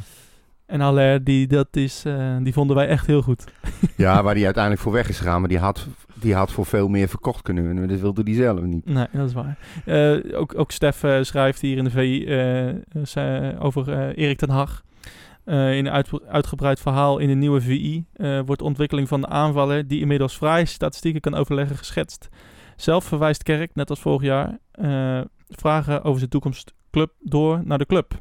Speaker 3: En Haller, die, dat is, eh, die vonden wij echt heel goed.
Speaker 2: ja waar hij uiteindelijk voor weg is gegaan, maar die had, die had voor veel meer verkocht kunnen worden. Dat wilde hij zelf niet.
Speaker 3: Nee, dat is waar. Eh, ook, ook Stef eh, schrijft hier in de VI eh, ze- over eh, Erik ten Hag. Eh, in een uit- uitgebreid verhaal in de nieuwe VI eh, wordt de ontwikkeling van de aanvaller, die inmiddels vrij statistieken kan overleggen, geschetst. Zelf verwijst Kerk, net als vorig jaar, eh, vragen over zijn toekomst club door naar de club.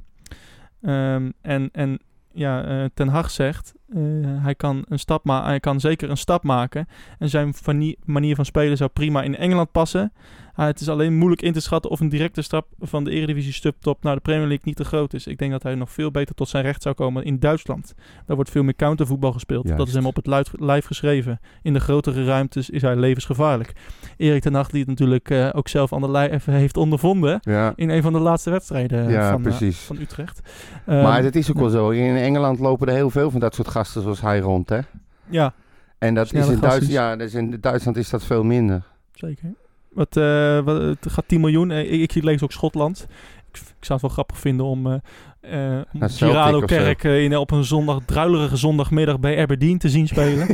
Speaker 3: Ehm, en, en ja, eh, Ten Hag zegt, eh, hij, kan een stap ma- hij kan zeker een stap maken. En zijn vanie- manier van spelen zou prima in Engeland passen. Ah, het is alleen moeilijk in te schatten of een directe stap van de Eredivisie subtop naar de Premier League niet te groot is. Ik denk dat hij nog veel beter tot zijn recht zou komen in Duitsland. Daar wordt veel meer countervoetbal gespeeld. Dat is
Speaker 2: Juist.
Speaker 3: hem op het luid- lijf geschreven. In de grotere ruimtes is hij levensgevaarlijk. Erik ten Hag die het natuurlijk eh, ook zelf aan de lijf heeft ondervonden
Speaker 2: Ja,
Speaker 3: in een van de laatste wedstrijden
Speaker 2: ja
Speaker 3: van, eh,
Speaker 2: precies.
Speaker 3: van Utrecht.
Speaker 2: maar
Speaker 3: Ehm,
Speaker 2: het is ook wel zo, in Engeland lopen er heel veel van dat soort gasten zoals hij rond, hè.
Speaker 3: Ja,
Speaker 2: En dat is
Speaker 3: Snelle
Speaker 2: in, Duits,
Speaker 3: gastjes.
Speaker 2: ja, dat is in Duitsland is dat veel minder.
Speaker 3: zeker. Wat, eh, wat, het gaat 10 miljoen. Eh, Ik, ik lees ook Schotland. Ik, v- ik zou het wel grappig vinden om eh, eh
Speaker 2: Naar Celtic
Speaker 3: Girado
Speaker 2: of zo.
Speaker 3: Kerk eh, in, op een zondag, druilerige zondagmiddag bij Aberdeen te zien spelen.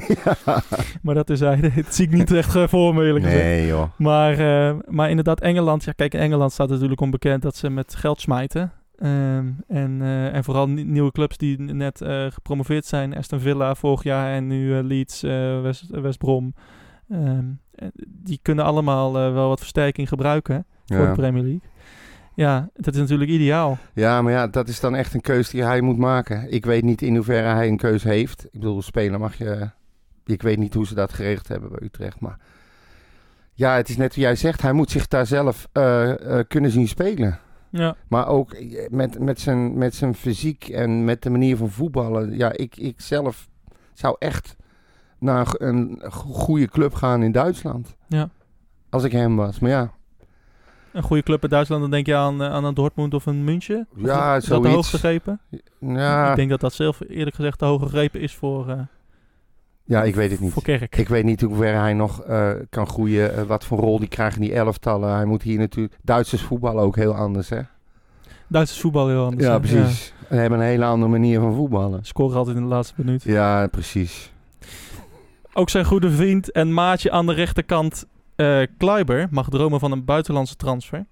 Speaker 3: Maar dat is eigenlijk, het zie ik niet echt eh, voor me eerlijk gezegd.
Speaker 2: Nee, joh.
Speaker 3: Maar, eh, maar inderdaad, Engeland. Ja, kijk, in Engeland staat natuurlijk onbekend dat ze met geld smijten. Ehm, en, eh, en vooral nie- nieuwe clubs die n- net eh, gepromoveerd zijn. Aston Villa vorig jaar en nu eh, Leeds, eh, West, West Brom. Ehm, en die kunnen allemaal eh, wel wat versterking gebruiken voor de
Speaker 2: Ja.
Speaker 3: Premier League. Ja, dat is natuurlijk ideaal.
Speaker 2: ja, maar ja, dat is dan echt een keuze die hij moet maken. Ik weet niet in hoeverre hij een keuze heeft. Ik bedoel, spelen mag je... eh, Ik weet niet hoe ze dat geregeld hebben bij Utrecht, maar... Ja, het is net wat jij zegt. Hij moet zich daar zelf eh, eh, kunnen zien spelen.
Speaker 3: Ja,
Speaker 2: Maar ook eh, met, met, zijn, met zijn fysiek en met de manier van voetballen. Ja, ik, ik zelf zou echt naar een go- een go- goede club gaan in Duitsland.
Speaker 3: Ja.
Speaker 2: Als ik hem was. Maar ja,
Speaker 3: een goede club in Duitsland. Dan denk je aan, eh, aan een Dortmund of een München. Of
Speaker 2: Ja,
Speaker 3: is dat de
Speaker 2: zoiets.
Speaker 3: hoogste grepen? Ik
Speaker 2: ja,
Speaker 3: denk dat dat zelf eerlijk gezegd de hoge grepen is voor, eh,
Speaker 2: ja ik weet het
Speaker 3: voor
Speaker 2: niet.
Speaker 3: Kerk.
Speaker 2: Ik weet niet hoe ver hij nog eh, kan groeien. eh, wat voor rol die krijgt in die elftallen. Hij moet hier natuurlijk... Duitsers voetballen ook heel anders, hè?
Speaker 3: Duitsers voetbal heel anders.
Speaker 2: Ja,
Speaker 3: hè?
Speaker 2: precies. Ze hebben een hele andere manier van voetballen.
Speaker 3: Scoren altijd in de laatste minuut.
Speaker 2: Ja, precies.
Speaker 3: Ook zijn goede vriend en maatje aan de rechterkant, eh Kleiber, mag dromen van een buitenlandse transfer.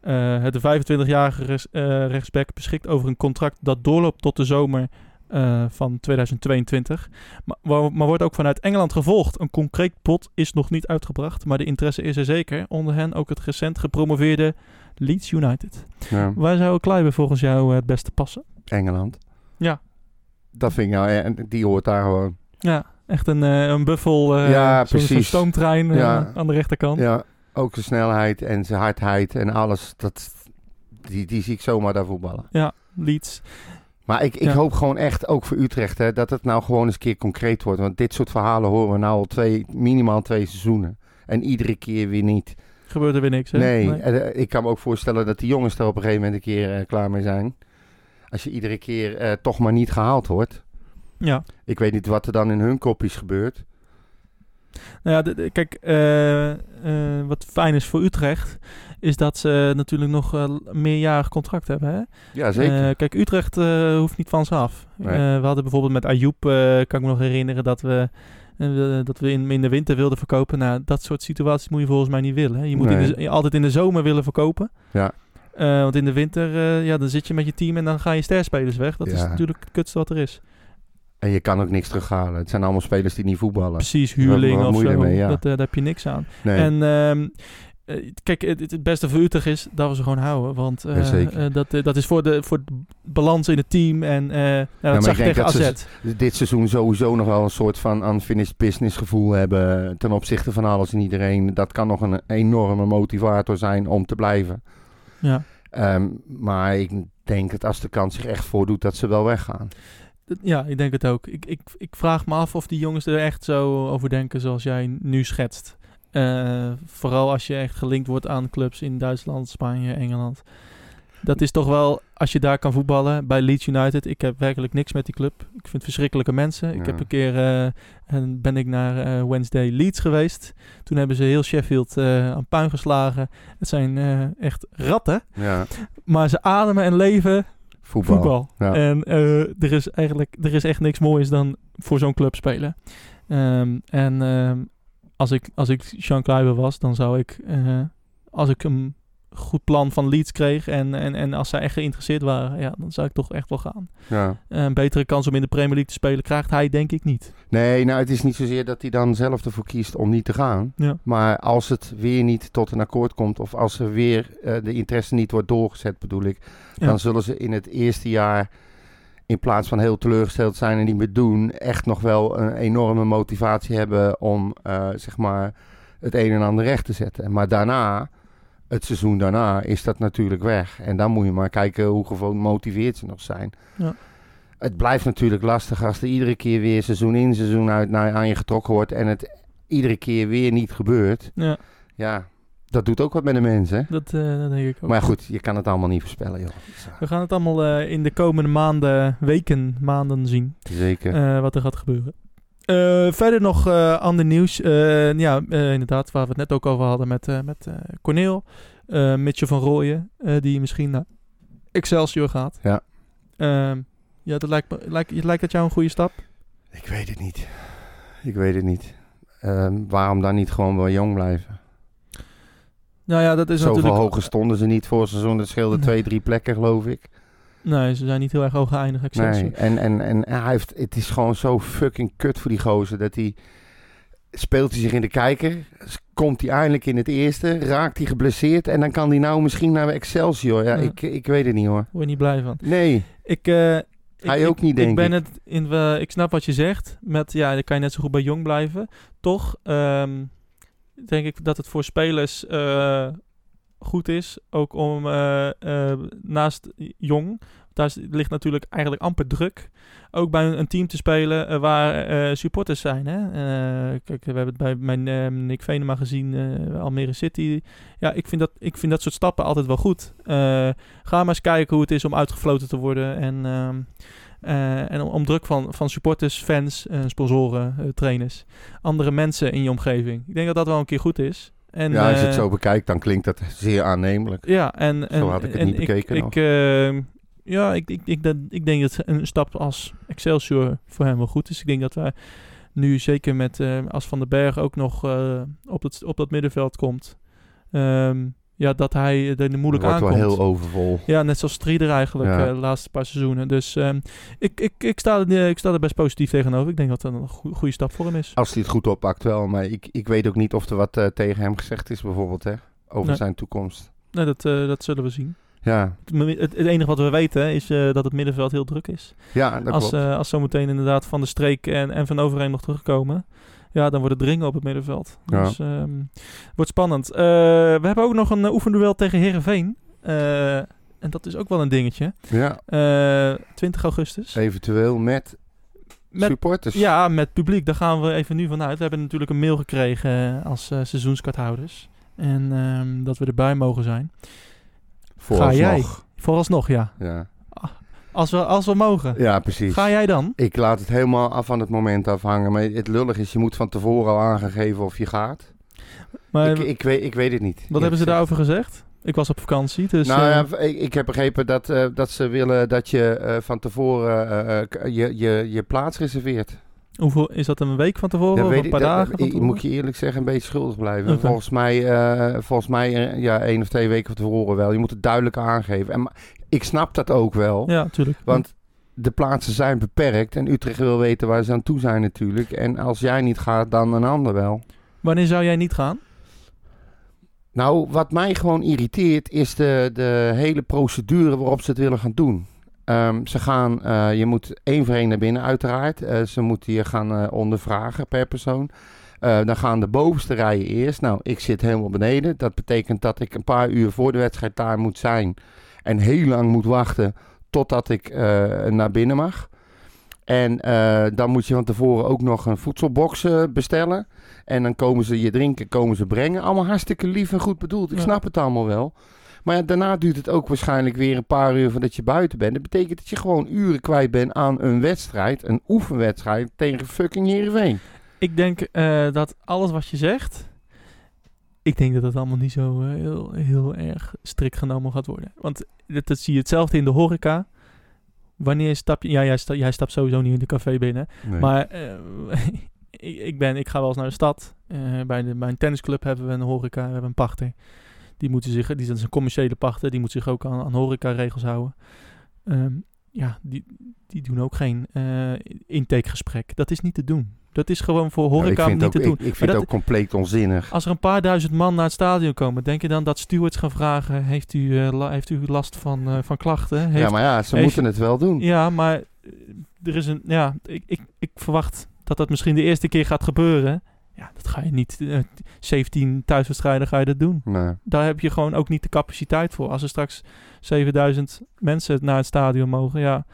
Speaker 3: Eh, het 25-jarige res- eh, rechtsback beschikt over een contract dat doorloopt tot de zomer eh, van 2022. Maar, wa- maar wordt ook vanuit Engeland gevolgd. Een concreet bod is nog niet uitgebracht, maar de interesse is er zeker. Onder hen ook het recent gepromoveerde Leeds United.
Speaker 2: Ja.
Speaker 3: Waar zou Kleiber volgens jou eh, het beste passen?
Speaker 2: Engeland.
Speaker 3: Ja.
Speaker 2: Dat vind ik nou... en Die hoort daar gewoon.
Speaker 3: Ja, echt een, eh, een buffel. eh,
Speaker 2: Ja,
Speaker 3: zo'n- zo'n
Speaker 2: precies.
Speaker 3: stoomtrein eh,
Speaker 2: Ja.
Speaker 3: aan de rechterkant. Ja.
Speaker 2: Ja, ook zijn snelheid en zijn hardheid en alles. Dat, die, die zie ik zomaar daar voetballen.
Speaker 3: Leeds.
Speaker 2: Maar ik, ik
Speaker 3: Ja.
Speaker 2: hoop gewoon echt, ook voor Utrecht, hè, dat het nou gewoon eens een keer concreet wordt. Want dit soort verhalen horen we nou al twee, minimaal twee seizoenen. En iedere keer weer niet.
Speaker 3: Gebeurt er weer niks, hè?
Speaker 2: Nee, en, eh, ik kan me ook voorstellen dat die jongens er op een gegeven moment een keer eh, klaar mee zijn. Als je iedere keer eh, toch maar niet gehaald wordt.
Speaker 3: Ja.
Speaker 2: Ik weet niet wat er dan in hun kopjes gebeurt.
Speaker 3: Nou ja, de- de- kijk, eh, eh, wat fijn is voor Utrecht, is dat ze natuurlijk nog eh, l- meerjarig contract hebben, hè?
Speaker 2: Ja, zeker.
Speaker 3: Eh, kijk, Utrecht eh, hoeft niet van ze af.
Speaker 2: Nee.
Speaker 3: Eh, we hadden bijvoorbeeld met Ayoub, eh, kan ik me nog herinneren, dat we, eh, dat we in, in de winter wilden verkopen. Nou, dat soort situaties moet je volgens mij niet willen. Hè. Je moet in de
Speaker 2: Nee.
Speaker 3: z- je altijd in de zomer willen verkopen.
Speaker 2: Ja.
Speaker 3: Eh, want in de winter, eh, ja, dan zit je met je team en dan gaan je sterspelers weg. Dat is
Speaker 2: Ja.
Speaker 3: natuurlijk het kutste wat er is.
Speaker 2: en je kan ook niks terughalen. Het zijn allemaal spelers die niet voetballen.
Speaker 3: Precies,
Speaker 2: Wat- wat
Speaker 3: huurling of
Speaker 2: moet je
Speaker 3: zo.
Speaker 2: ermee, ja.
Speaker 3: dat, eh, daar heb je niks aan.
Speaker 2: Nee.
Speaker 3: En ehm, eh, kijk, het, het- het beste voor Utrecht is dat we ze gewoon houden. Want eh,
Speaker 2: Jazeker.
Speaker 3: eh, dat, eh, dat is voor de, voor de balans in het team. En eh, nou,
Speaker 2: maar
Speaker 3: dat zag
Speaker 2: ik
Speaker 3: je
Speaker 2: denk
Speaker 3: tegen
Speaker 2: dat ze-
Speaker 3: AZ.
Speaker 2: dit seizoen sowieso nog wel een soort van unfinished business gevoel hebben eh, ten opzichte van alles en iedereen. Dat kan nog een enorme motivator zijn om te blijven.
Speaker 3: Ja.
Speaker 2: Ehm, maar ik denk dat als de kans zich echt voordoet, dat ze wel weggaan.
Speaker 3: Dat- Ja, ik denk het ook. Ik, ik, ik vraag me af of die jongens er echt zo over denken zoals jij nu schetst. Eh, vooral als je echt gelinkt wordt aan clubs in Duitsland, Spanje, Engeland. Dat is toch wel, als je daar kan voetballen bij Leeds United. Ik heb werkelijk niks met die club. Ik vind het verschrikkelijke mensen. Ik
Speaker 2: Ja.
Speaker 3: heb een keer eh, en ben ik naar eh, Wednesday Leeds geweest. Toen hebben ze heel Sheffield eh, aan puin geslagen. Het zijn eh, echt ratten.
Speaker 2: Ja,
Speaker 3: Maar ze ademen en leven
Speaker 2: voetbal.
Speaker 3: voetbal.
Speaker 2: Ja.
Speaker 3: En eh, er is eigenlijk er is echt niks moois dan voor zo'n club spelen. Ehm, en ehm, als ik, als ik Sean Kluiber was, dan zou ik, eh, als ik een goed plan van Leeds kreeg en, en, en als zij echt geïnteresseerd waren, ja, dan zou ik toch echt wel gaan.
Speaker 2: Ja.
Speaker 3: Eh, een betere kans om in de Premier League te spelen krijgt hij denk ik niet.
Speaker 2: Nee, nou het is niet zozeer dat hij dan zelf ervoor kiest om niet te gaan.
Speaker 3: Ja.
Speaker 2: Maar als het weer niet tot een akkoord komt of als er weer eh, de interesse niet wordt doorgezet, bedoel ik,
Speaker 3: Ja.
Speaker 2: dan zullen ze in het eerste jaar in plaats van heel teleurgesteld zijn en niet meer doen, echt nog wel een enorme motivatie hebben om eh, zeg maar het een en ander recht te zetten. Maar daarna, het seizoen daarna, is dat natuurlijk weg. En dan moet je maar kijken hoe gemotiveerd ze nog zijn.
Speaker 3: Ja.
Speaker 2: Het blijft natuurlijk lastig als er iedere keer weer seizoen in, seizoen uit naar, aan je getrokken wordt en het iedere keer weer niet gebeurt.
Speaker 3: Ja,
Speaker 2: Ja, dat doet ook wat met de mensen.
Speaker 3: dat, eh, dat denk ik ook.
Speaker 2: Maar goed, je kan het allemaal niet voorspellen, joh. Zo,
Speaker 3: We gaan het allemaal eh, in de komende maanden, weken, maanden zien.
Speaker 2: Zeker.
Speaker 3: eh, wat er gaat gebeuren. Eh, verder nog eh, ander nieuws. Eh, ja, eh, inderdaad, waar we het net ook over hadden met, eh met eh, Corneel. eh Mitchell van Rooyen, eh, die misschien naar Excelsior gaat.
Speaker 2: Ja.
Speaker 3: Ehm, ja, dat lijkt, me, lijkt, lijkt dat jou een goede stap?
Speaker 2: Ik weet het niet. Ik weet het niet. Ehm, waarom dan niet gewoon wel jong blijven?
Speaker 3: Nou ja, dat is
Speaker 2: Zoveel
Speaker 3: natuurlijk...
Speaker 2: hoger stonden ze niet voor het seizoen. Dat scheelde
Speaker 3: Nee.
Speaker 2: twee, drie plekken, geloof ik.
Speaker 3: Nee, ze zijn niet heel erg hoog geëindigd. Excelsior.
Speaker 2: Nee, en, en, en hij heeft, het is gewoon zo fucking kut voor die gozer dat hij... Speelt hij zich in de kijker, s- komt hij eindelijk in het eerste, raakt hij geblesseerd... en dan kan hij nou misschien naar Excelsior. Ja,
Speaker 3: Ja.
Speaker 2: Ik, ik weet het niet hoor.
Speaker 3: Word je niet blij van.
Speaker 2: Nee,
Speaker 3: Ik, eh, ik-
Speaker 2: Hij ook
Speaker 3: ik-
Speaker 2: niet,
Speaker 3: ik.
Speaker 2: denk
Speaker 3: Ben Het in, eh, ik snap wat je zegt. Met, ja, dan kan je net zo goed bij Jong blijven. Toch ehm, denk ik dat het voor spelers eh, goed is. Ook om eh, eh, naast Jong... Daar is- ligt natuurlijk eigenlijk amper druk. Ook bij een, een team te spelen eh, waar eh, supporters zijn. Hè? Eh, kijk, we hebben het bij mijn, eh, Nick Venema gezien, eh, Almere City. Ja, ik vind, dat, ik vind dat soort stappen altijd wel goed. Eh, ga maar eens kijken hoe het is om uitgefloten te worden. En, ehm, eh, en om, om druk van, van supporters, fans, eh, sponsoren, eh, trainers. Andere mensen in je omgeving. Ik denk dat dat wel een keer goed is. En,
Speaker 2: ja, als je het
Speaker 3: eh,
Speaker 2: zo bekijkt, dan klinkt dat zeer aannemelijk.
Speaker 3: ja, en, en,
Speaker 2: Zo had ik het
Speaker 3: en
Speaker 2: niet bekeken
Speaker 3: Ik,
Speaker 2: nog.
Speaker 3: eh, ja, ik, ik, ik, dat, ik denk dat een stap als Excelsior voor hem wel goed is. Ik denk dat wij nu zeker met eh, als Van den Berg ook nog eh, op, dat, op dat middenveld komt. ehm, ja, dat hij er moeilijk
Speaker 2: wordt
Speaker 3: aankomt.
Speaker 2: wel heel overvol.
Speaker 3: Ja, net zoals Strieder eigenlijk
Speaker 2: Ja.
Speaker 3: eh, de laatste paar seizoenen. Dus ehm, ik, ik, ik, sta, er, eh, ik sta er best positief tegenover. Ik denk dat dat een goe- goede stap voor hem is.
Speaker 2: Als hij het goed oppakt wel, maar ik, ik weet ook niet of er wat eh, tegen hem gezegd is bijvoorbeeld, hè? Over
Speaker 3: Nee.
Speaker 2: zijn toekomst.
Speaker 3: Nee, dat, eh, dat zullen we zien.
Speaker 2: Ja,
Speaker 3: Het, het, het enige wat we weten is eh, dat het middenveld heel druk is.
Speaker 2: ja dat
Speaker 3: als,
Speaker 2: klopt.
Speaker 3: eh, als zometeen inderdaad Van de Streek en, en Van Overheen nog terugkomen. Ja, dan wordt het dringen op het middenveld.
Speaker 2: Ja.
Speaker 3: Dus ehm, wordt spannend. Eh, we hebben ook nog een eh, oefenduel tegen Herenveen. en dat is ook wel een dingetje.
Speaker 2: ja,
Speaker 3: Eh, 20 augustus.
Speaker 2: eventueel met,
Speaker 3: Met-
Speaker 2: supporters.
Speaker 3: Ja, met publiek. Daar gaan we even nu vanuit. We hebben natuurlijk een mail gekregen eh, als eh, seizoenskaarthouders. En ehm, dat we erbij mogen zijn.
Speaker 2: Vooralsnog.
Speaker 3: jij? Vooralsnog, ja.
Speaker 2: Ja,
Speaker 3: Als we, als we mogen.
Speaker 2: ja precies.
Speaker 3: Ga jij dan?
Speaker 2: Ik laat het helemaal af van het moment afhangen. Maar het lullig is, je moet van tevoren al aangegeven of je gaat.
Speaker 3: Maar,
Speaker 2: ik, ik, weet, ik weet het niet.
Speaker 3: wat hebben ze daarover gezegd? Ik was op vakantie, dus...
Speaker 2: nou
Speaker 3: eh,
Speaker 2: ja, ik, ik heb begrepen dat, eh, dat ze willen dat je eh, van tevoren eh, eh, k- je, je, je plaats reserveert.
Speaker 3: Hoeveel, is dat een week van tevoren
Speaker 2: Dat
Speaker 3: of
Speaker 2: weet
Speaker 3: Oh, een
Speaker 2: ik,
Speaker 3: paar
Speaker 2: dat-
Speaker 3: dagen? van
Speaker 2: ik-
Speaker 3: tevoren?
Speaker 2: moet je eerlijk zeggen, een beetje schuldig blijven.
Speaker 3: Oké.
Speaker 2: Volgens mij, eh, volgens mij eh, ja, één of twee weken van tevoren wel. Je moet het duidelijk aangeven. En, maar ik snap dat ook wel.
Speaker 3: Ja, natuurlijk.
Speaker 2: Want de plaatsen zijn beperkt en Utrecht wil weten waar ze aan toe zijn natuurlijk. En als jij niet gaat, dan een ander wel.
Speaker 3: Wanneer zou jij niet gaan?
Speaker 2: Nou, wat mij gewoon irriteert is de, de hele procedure waarop ze het willen gaan doen. Ehm, ze gaan, eh, je moet één voor één naar binnen uiteraard. Eh, ze moeten je gaan eh, ondervragen per persoon. Eh, dan gaan de bovenste rijen eerst. Nou, ik zit helemaal beneden. Dat betekent dat ik een paar uur voor de wedstrijd daar moet zijn. En heel lang moet wachten totdat ik eh, naar binnen mag. En eh, dan moet je van tevoren ook nog een voedselbox eh, bestellen. En dan komen ze je drinken, komen ze brengen. Allemaal hartstikke lief en goed bedoeld. Ik
Speaker 3: Ja.
Speaker 2: snap het allemaal wel. Maar ja, daarna duurt het ook waarschijnlijk weer een paar uur voordat je buiten bent. Dat betekent dat je gewoon uren kwijt bent aan een wedstrijd, een oefenwedstrijd tegen fucking Heerenveen.
Speaker 3: Ik denk eh, dat alles wat je zegt... Ik denk dat dat allemaal niet zo eh, heel, heel erg strikt genomen gaat worden. Want dat, dat zie je hetzelfde in de horeca. Wanneer stap je... Ja, jij, sta- jij stapt sowieso niet in de café binnen. Maar eh, ik, ik, ben, ik ga wel eens naar de stad. Eh, bij, de, bij een tennisclub hebben we een horeca, we hebben een pachter. Die, moeten zich, die dat is een commerciële pachter, die moet zich ook aan, aan horecaregels houden. Ehm, ja, die, die doen ook geen eh, intakegesprek. Dat is niet te doen. Dat is gewoon voor
Speaker 2: Nou, ik
Speaker 3: horeca
Speaker 2: vind het
Speaker 3: niet te
Speaker 2: ook,
Speaker 3: doen.
Speaker 2: Ik, ik vind
Speaker 3: Maar
Speaker 2: het
Speaker 3: dat-
Speaker 2: ook compleet onzinnig.
Speaker 3: als er een paar duizend man naar het stadion komen, denk je dan dat stewards gaan vragen: heeft u, eh, la- heeft u last van, eh, van klachten? Heeft
Speaker 2: ja, maar ja, ze
Speaker 3: heeft-
Speaker 2: moeten het wel doen.
Speaker 3: ja, maar eh, er is een. Ja, ik, ik, ik verwacht dat dat misschien de eerste keer gaat gebeuren. Ja, dat ga je niet. eh, 17 thuiswedstrijden ga je dat doen.
Speaker 2: Nou,
Speaker 3: Daar heb je gewoon ook niet de capaciteit voor. Als er straks 7000 mensen naar het stadion mogen, ja.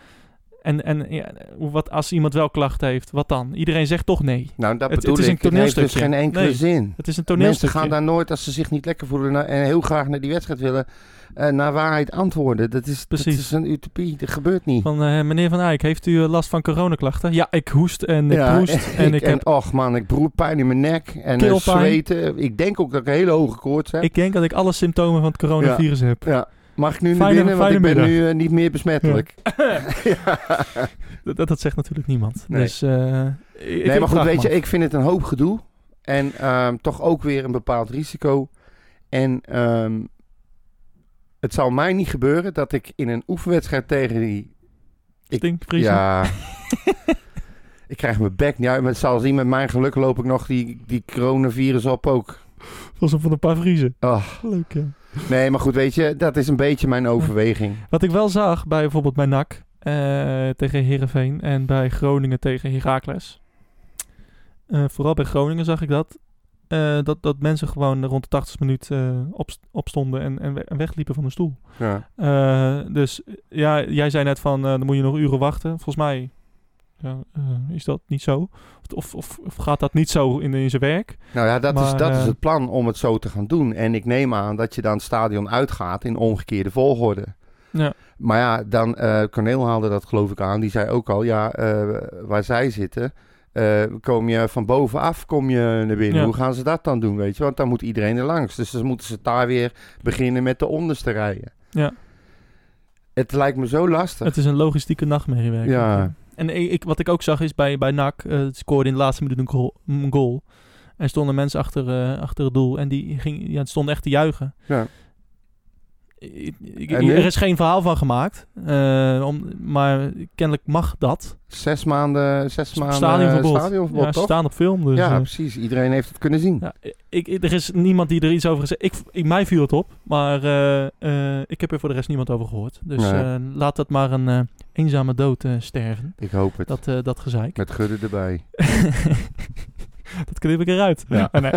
Speaker 3: En, en ja, wat, als iemand wel klachten heeft, wat dan? Iedereen zegt toch nee.
Speaker 2: nou dat
Speaker 3: Het-
Speaker 2: bedoel
Speaker 3: het is een
Speaker 2: ik. Het heeft dus
Speaker 3: toneelstukje.
Speaker 2: geen enkele
Speaker 3: Nee.
Speaker 2: zin.
Speaker 3: Het is een
Speaker 2: Mensen
Speaker 3: toneelstukje.
Speaker 2: gaan daar nooit, als ze zich niet lekker voelen na- en heel graag naar die wedstrijd willen, eh, naar waarheid antwoorden. Dat is, dat
Speaker 3: Precies.
Speaker 2: is een utopie. Dat gebeurt niet.
Speaker 3: Van eh, meneer Van Eyck, heeft u eh, last van coronaklachten? Ja, ik hoest en ik proest en, ik heb...
Speaker 2: och man, ik broer pijn in mijn nek en eh,
Speaker 3: Keelpijn.
Speaker 2: zweten. Ik denk ook dat ik een hele hoge koorts heb.
Speaker 3: Ik denk dat ik alle symptomen van het coronavirus heb.
Speaker 2: ja, Mag ik nu naar
Speaker 3: Fijne-
Speaker 2: binnen, want
Speaker 3: fijne
Speaker 2: ik ben
Speaker 3: middag.
Speaker 2: nu eh, niet meer besmettelijk.
Speaker 3: Dat, dat- dat zegt natuurlijk niemand.
Speaker 2: Nee.
Speaker 3: Dus, eh, ik- ik-
Speaker 2: nee,
Speaker 3: ik
Speaker 2: maar goed,
Speaker 3: vraag
Speaker 2: weet
Speaker 3: me
Speaker 2: je,
Speaker 3: af.
Speaker 2: ik vind het een hoop gedoe. En ehm, toch ook weer een bepaald risico. En ehm, het zal mij niet gebeuren dat ik in een oefenwedstrijd tegen die... ik-
Speaker 3: Ding, vriezen.
Speaker 2: Ja... ik krijg mijn bek niet uit. Maar het zal zien, met mijn geluk loop ik nog die, die coronavirus op ook.
Speaker 3: Volgens mij van een paar vriezen.
Speaker 2: Ah,
Speaker 3: Leuk, ja.
Speaker 2: nee, maar goed, weet je, dat is een beetje mijn overweging.
Speaker 3: Wat ik wel zag bij bijvoorbeeld bij NAC eh, tegen Herenveen en bij Groningen tegen Heracles. Eh, vooral bij Groningen zag ik dat, eh, dat. Dat mensen gewoon rond de 80 minuut eh, opst- opstonden en, en, we- en wegliepen van de stoel.
Speaker 2: Ja.
Speaker 3: Eh, dus ja, jij zei net van eh, dan moet je nog uren wachten. Volgens mij ja, eh, is dat niet zo. Of, of, of gaat dat niet zo in, in zijn werk?
Speaker 2: Nou ja, dat, is,
Speaker 3: Maar,
Speaker 2: dat
Speaker 3: eh,
Speaker 2: is het plan om het zo te gaan doen. En ik neem aan dat je dan het stadion uitgaat in omgekeerde volgorde.
Speaker 3: Ja.
Speaker 2: Maar ja, dan, eh Corneel haalde dat geloof ik aan. Die zei ook al, ja, eh, waar zij zitten, eh, kom je van bovenaf kom je naar binnen.
Speaker 3: Ja.
Speaker 2: Hoe gaan ze dat dan doen, weet je? Want dan moet iedereen er langs. Dus dan moeten ze daar weer beginnen met de onderste rijen.
Speaker 3: Ja.
Speaker 2: Het lijkt me zo lastig.
Speaker 3: Het is een logistieke nachtmerrie werken.
Speaker 2: Ja.
Speaker 3: En ik, ik- wat ik ook zag is bij, bij NAC, eh, het scoorde in de laatste minuut een goal. Een goal. En stonden mensen achter, eh, achter het doel en die ging, ja, het stonden echt te juichen.
Speaker 2: Ja.
Speaker 3: Ik- ik-
Speaker 2: En nu?
Speaker 3: er is geen verhaal van gemaakt, eh, om, maar kennelijk mag dat.
Speaker 2: Zes maanden, zes maanden
Speaker 3: stadionverbod.
Speaker 2: eh, stadionverbod,
Speaker 3: ja, ze
Speaker 2: toch?
Speaker 3: staan op film. Dus,
Speaker 2: ja,
Speaker 3: eh,
Speaker 2: precies. Iedereen heeft het kunnen zien.
Speaker 3: ja, ik, ik- er is niemand die er iets over gezegd ik, ik Mij viel het op, maar eh, eh, ik heb er voor de rest niemand over gehoord. Dus
Speaker 2: Nee.
Speaker 3: eh, laat dat maar een eh, eenzame dood eh, sterven,
Speaker 2: Ik hoop het.
Speaker 3: dat, eh, dat gezeik.
Speaker 2: Met Gudde erbij.
Speaker 3: dat knip ik eruit.
Speaker 2: Ja.
Speaker 3: Ah, nee.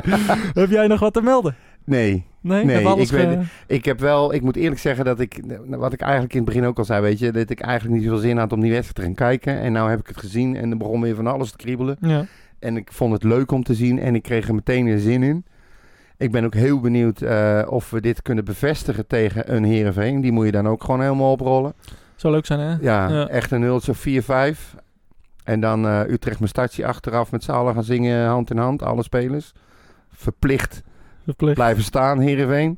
Speaker 3: heb jij nog wat te melden?
Speaker 2: Nee,
Speaker 3: Nee,
Speaker 2: Nee,
Speaker 3: heb alles
Speaker 2: ik weet
Speaker 3: ge-
Speaker 2: ik heb wel, ik moet eerlijk zeggen dat ik, nou, wat ik eigenlijk in het begin ook al zei, weet je, dat ik eigenlijk niet zoveel zin had om die wedstrijd te gaan kijken. En nou heb ik het gezien en er begon weer van alles te kriebelen.
Speaker 3: Ja.
Speaker 2: En ik vond het leuk om te zien en ik kreeg er meteen weer zin in. Ik ben ook heel benieuwd eh, of we dit kunnen bevestigen tegen een Heerenveen. Die moet je dan ook gewoon helemaal oprollen.
Speaker 3: Zou leuk zijn, hè?
Speaker 2: Ja,
Speaker 3: Ja.
Speaker 2: echt een nultje 4-5. En dan eh, Utrecht Mestatie achteraf met z'n allen gaan zingen eh, hand in hand, alle spelers. Verplicht
Speaker 3: Verplicht.
Speaker 2: blijven staan, Heerenveen.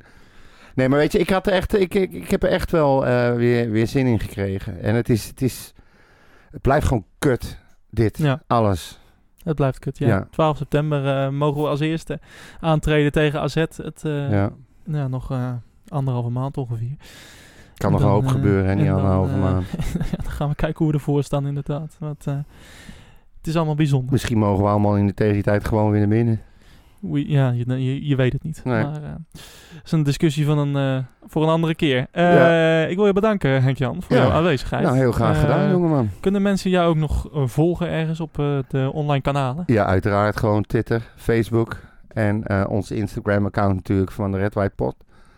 Speaker 2: Nee, maar weet je, ik, had er echt, ik, ik, ik heb er echt wel eh, weer, weer zin in gekregen. En het is, het is... Het blijft gewoon kut, dit.
Speaker 3: Ja,
Speaker 2: Alles.
Speaker 3: het blijft kut. Ja.
Speaker 2: Ja.
Speaker 3: 12 september eh, mogen we als eerste aantreden tegen AZ. Het, eh,
Speaker 2: ja.
Speaker 3: nou ja, nog eh, anderhalve maand ongeveer.
Speaker 2: Kan nog
Speaker 3: Dan,
Speaker 2: een hoop
Speaker 3: eh,
Speaker 2: gebeuren, hè?
Speaker 3: en
Speaker 2: Niet
Speaker 3: dan,
Speaker 2: anderhalve
Speaker 3: eh,
Speaker 2: maand.
Speaker 3: ja, dan gaan we kijken hoe we ervoor staan, inderdaad. Want, eh, het is allemaal bijzonder.
Speaker 2: Misschien mogen we allemaal in de tegentijd gewoon weer naar binnen.
Speaker 3: Oei, ja, je, je, je weet het niet.
Speaker 2: Nee.
Speaker 3: Maar eh, het is een discussie van een, eh, voor een andere keer. Eh, Ik wil je bedanken, Henk-Jan, voor
Speaker 2: Ja.
Speaker 3: jouw aanwezigheid.
Speaker 2: Nou, heel graag
Speaker 3: Eh,
Speaker 2: gedaan, jongeman.
Speaker 3: Kunnen mensen jou ook nog eh, volgen ergens op eh, de online kanalen?
Speaker 2: Ja, uiteraard gewoon Twitter, Facebook en eh ons Instagram-account natuurlijk van de Red White Pot.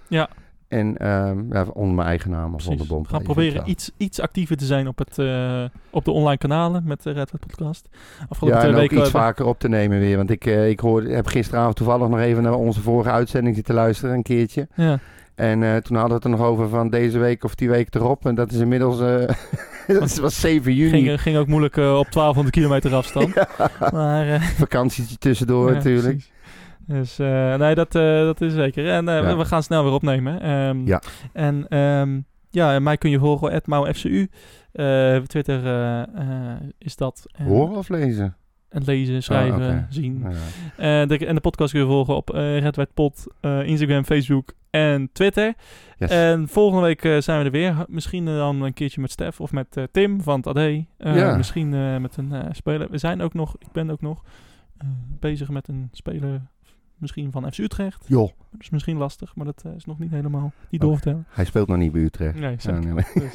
Speaker 3: Ja.
Speaker 2: En ehm, ja, onder mijn eigen naam of onder Bond.
Speaker 3: Gaan proberen iets, iets actiever te zijn op, het, eh, op de online kanalen met de Red Hat Podcast. Afgelopen
Speaker 2: Ja,
Speaker 3: twee
Speaker 2: en ook
Speaker 3: weken eh,
Speaker 2: iets
Speaker 3: hebben-
Speaker 2: vaker op te nemen weer. Want ik, eh, ik hoorde, heb gisteravond toevallig nog even naar onze vorige uitzending zitten luisteren, een keertje.
Speaker 3: Ja.
Speaker 2: En eh, toen hadden we het er nog over van deze week of die week erop. En dat is inmiddels, eh, dat was 7 juni,
Speaker 3: Ging, ging ook moeilijk eh, op 1200 kilometer afstand. Maar eh,
Speaker 2: vakantietje tussendoor
Speaker 3: Ja,
Speaker 2: natuurlijk.
Speaker 3: precies. Dus eh, nee, dat, eh, dat is zeker. En eh,
Speaker 2: Ja.
Speaker 3: we gaan snel weer opnemen. Ehm,
Speaker 2: Ja.
Speaker 3: En ehm, ja, en mij kun je volgen at mouwfcu. Eh, op Twitter eh, eh, is dat. En,
Speaker 2: Horen of lezen?
Speaker 3: en lezen, schrijven,
Speaker 2: oké.
Speaker 3: zien.
Speaker 2: Ja.
Speaker 3: Eh, de, en de podcast kun je volgen op eh Red White Pod, eh, Instagram, Facebook en Twitter.
Speaker 2: Yes.
Speaker 3: En volgende week eh, zijn we er weer. Misschien eh, dan een keertje met Stef of met eh, Tim van het AD. Eh,
Speaker 2: Ja.
Speaker 3: Misschien eh, met een eh, speler. We zijn ook nog, ik ben ook nog eh, bezig met een speler misschien van FC Utrecht.
Speaker 2: Joh,
Speaker 3: Dat is misschien lastig, maar dat eh, is nog niet helemaal niet doorvertellen.
Speaker 2: hij speelt nog niet bij Utrecht.
Speaker 3: Nee,
Speaker 2: Ja,
Speaker 3: zeker.
Speaker 2: nee, maar-
Speaker 3: Dus,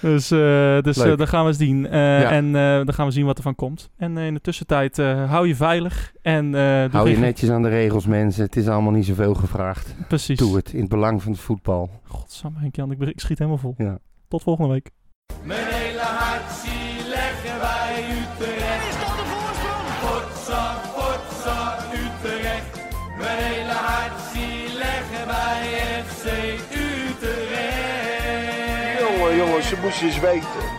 Speaker 3: dus, eh, dus
Speaker 2: Leuk.
Speaker 3: eh, dan gaan we eens zien. Eh,
Speaker 2: Ja.
Speaker 3: En eh, dan gaan we zien wat er van komt. En eh, in de tussentijd eh, hou je veilig. En, eh, doe
Speaker 2: Hou je
Speaker 3: geen-
Speaker 2: netjes aan de regels, mensen. Het is allemaal niet zoveel gevraagd.
Speaker 3: Precies.
Speaker 2: Doe het in het belang van het voetbal.
Speaker 3: Godsamme Henk-Jan, ik, ben- ik schiet helemaal vol.
Speaker 2: Ja.
Speaker 3: Tot volgende week.
Speaker 6: Mijn hele hart zie leggen wij Utrecht. Is dat de voorsprong? Potsa, potsa, Utrecht. Mijn hele hart zie leggen wij FC Utrecht.
Speaker 7: Jongen, jongen, ze moesten eens weten.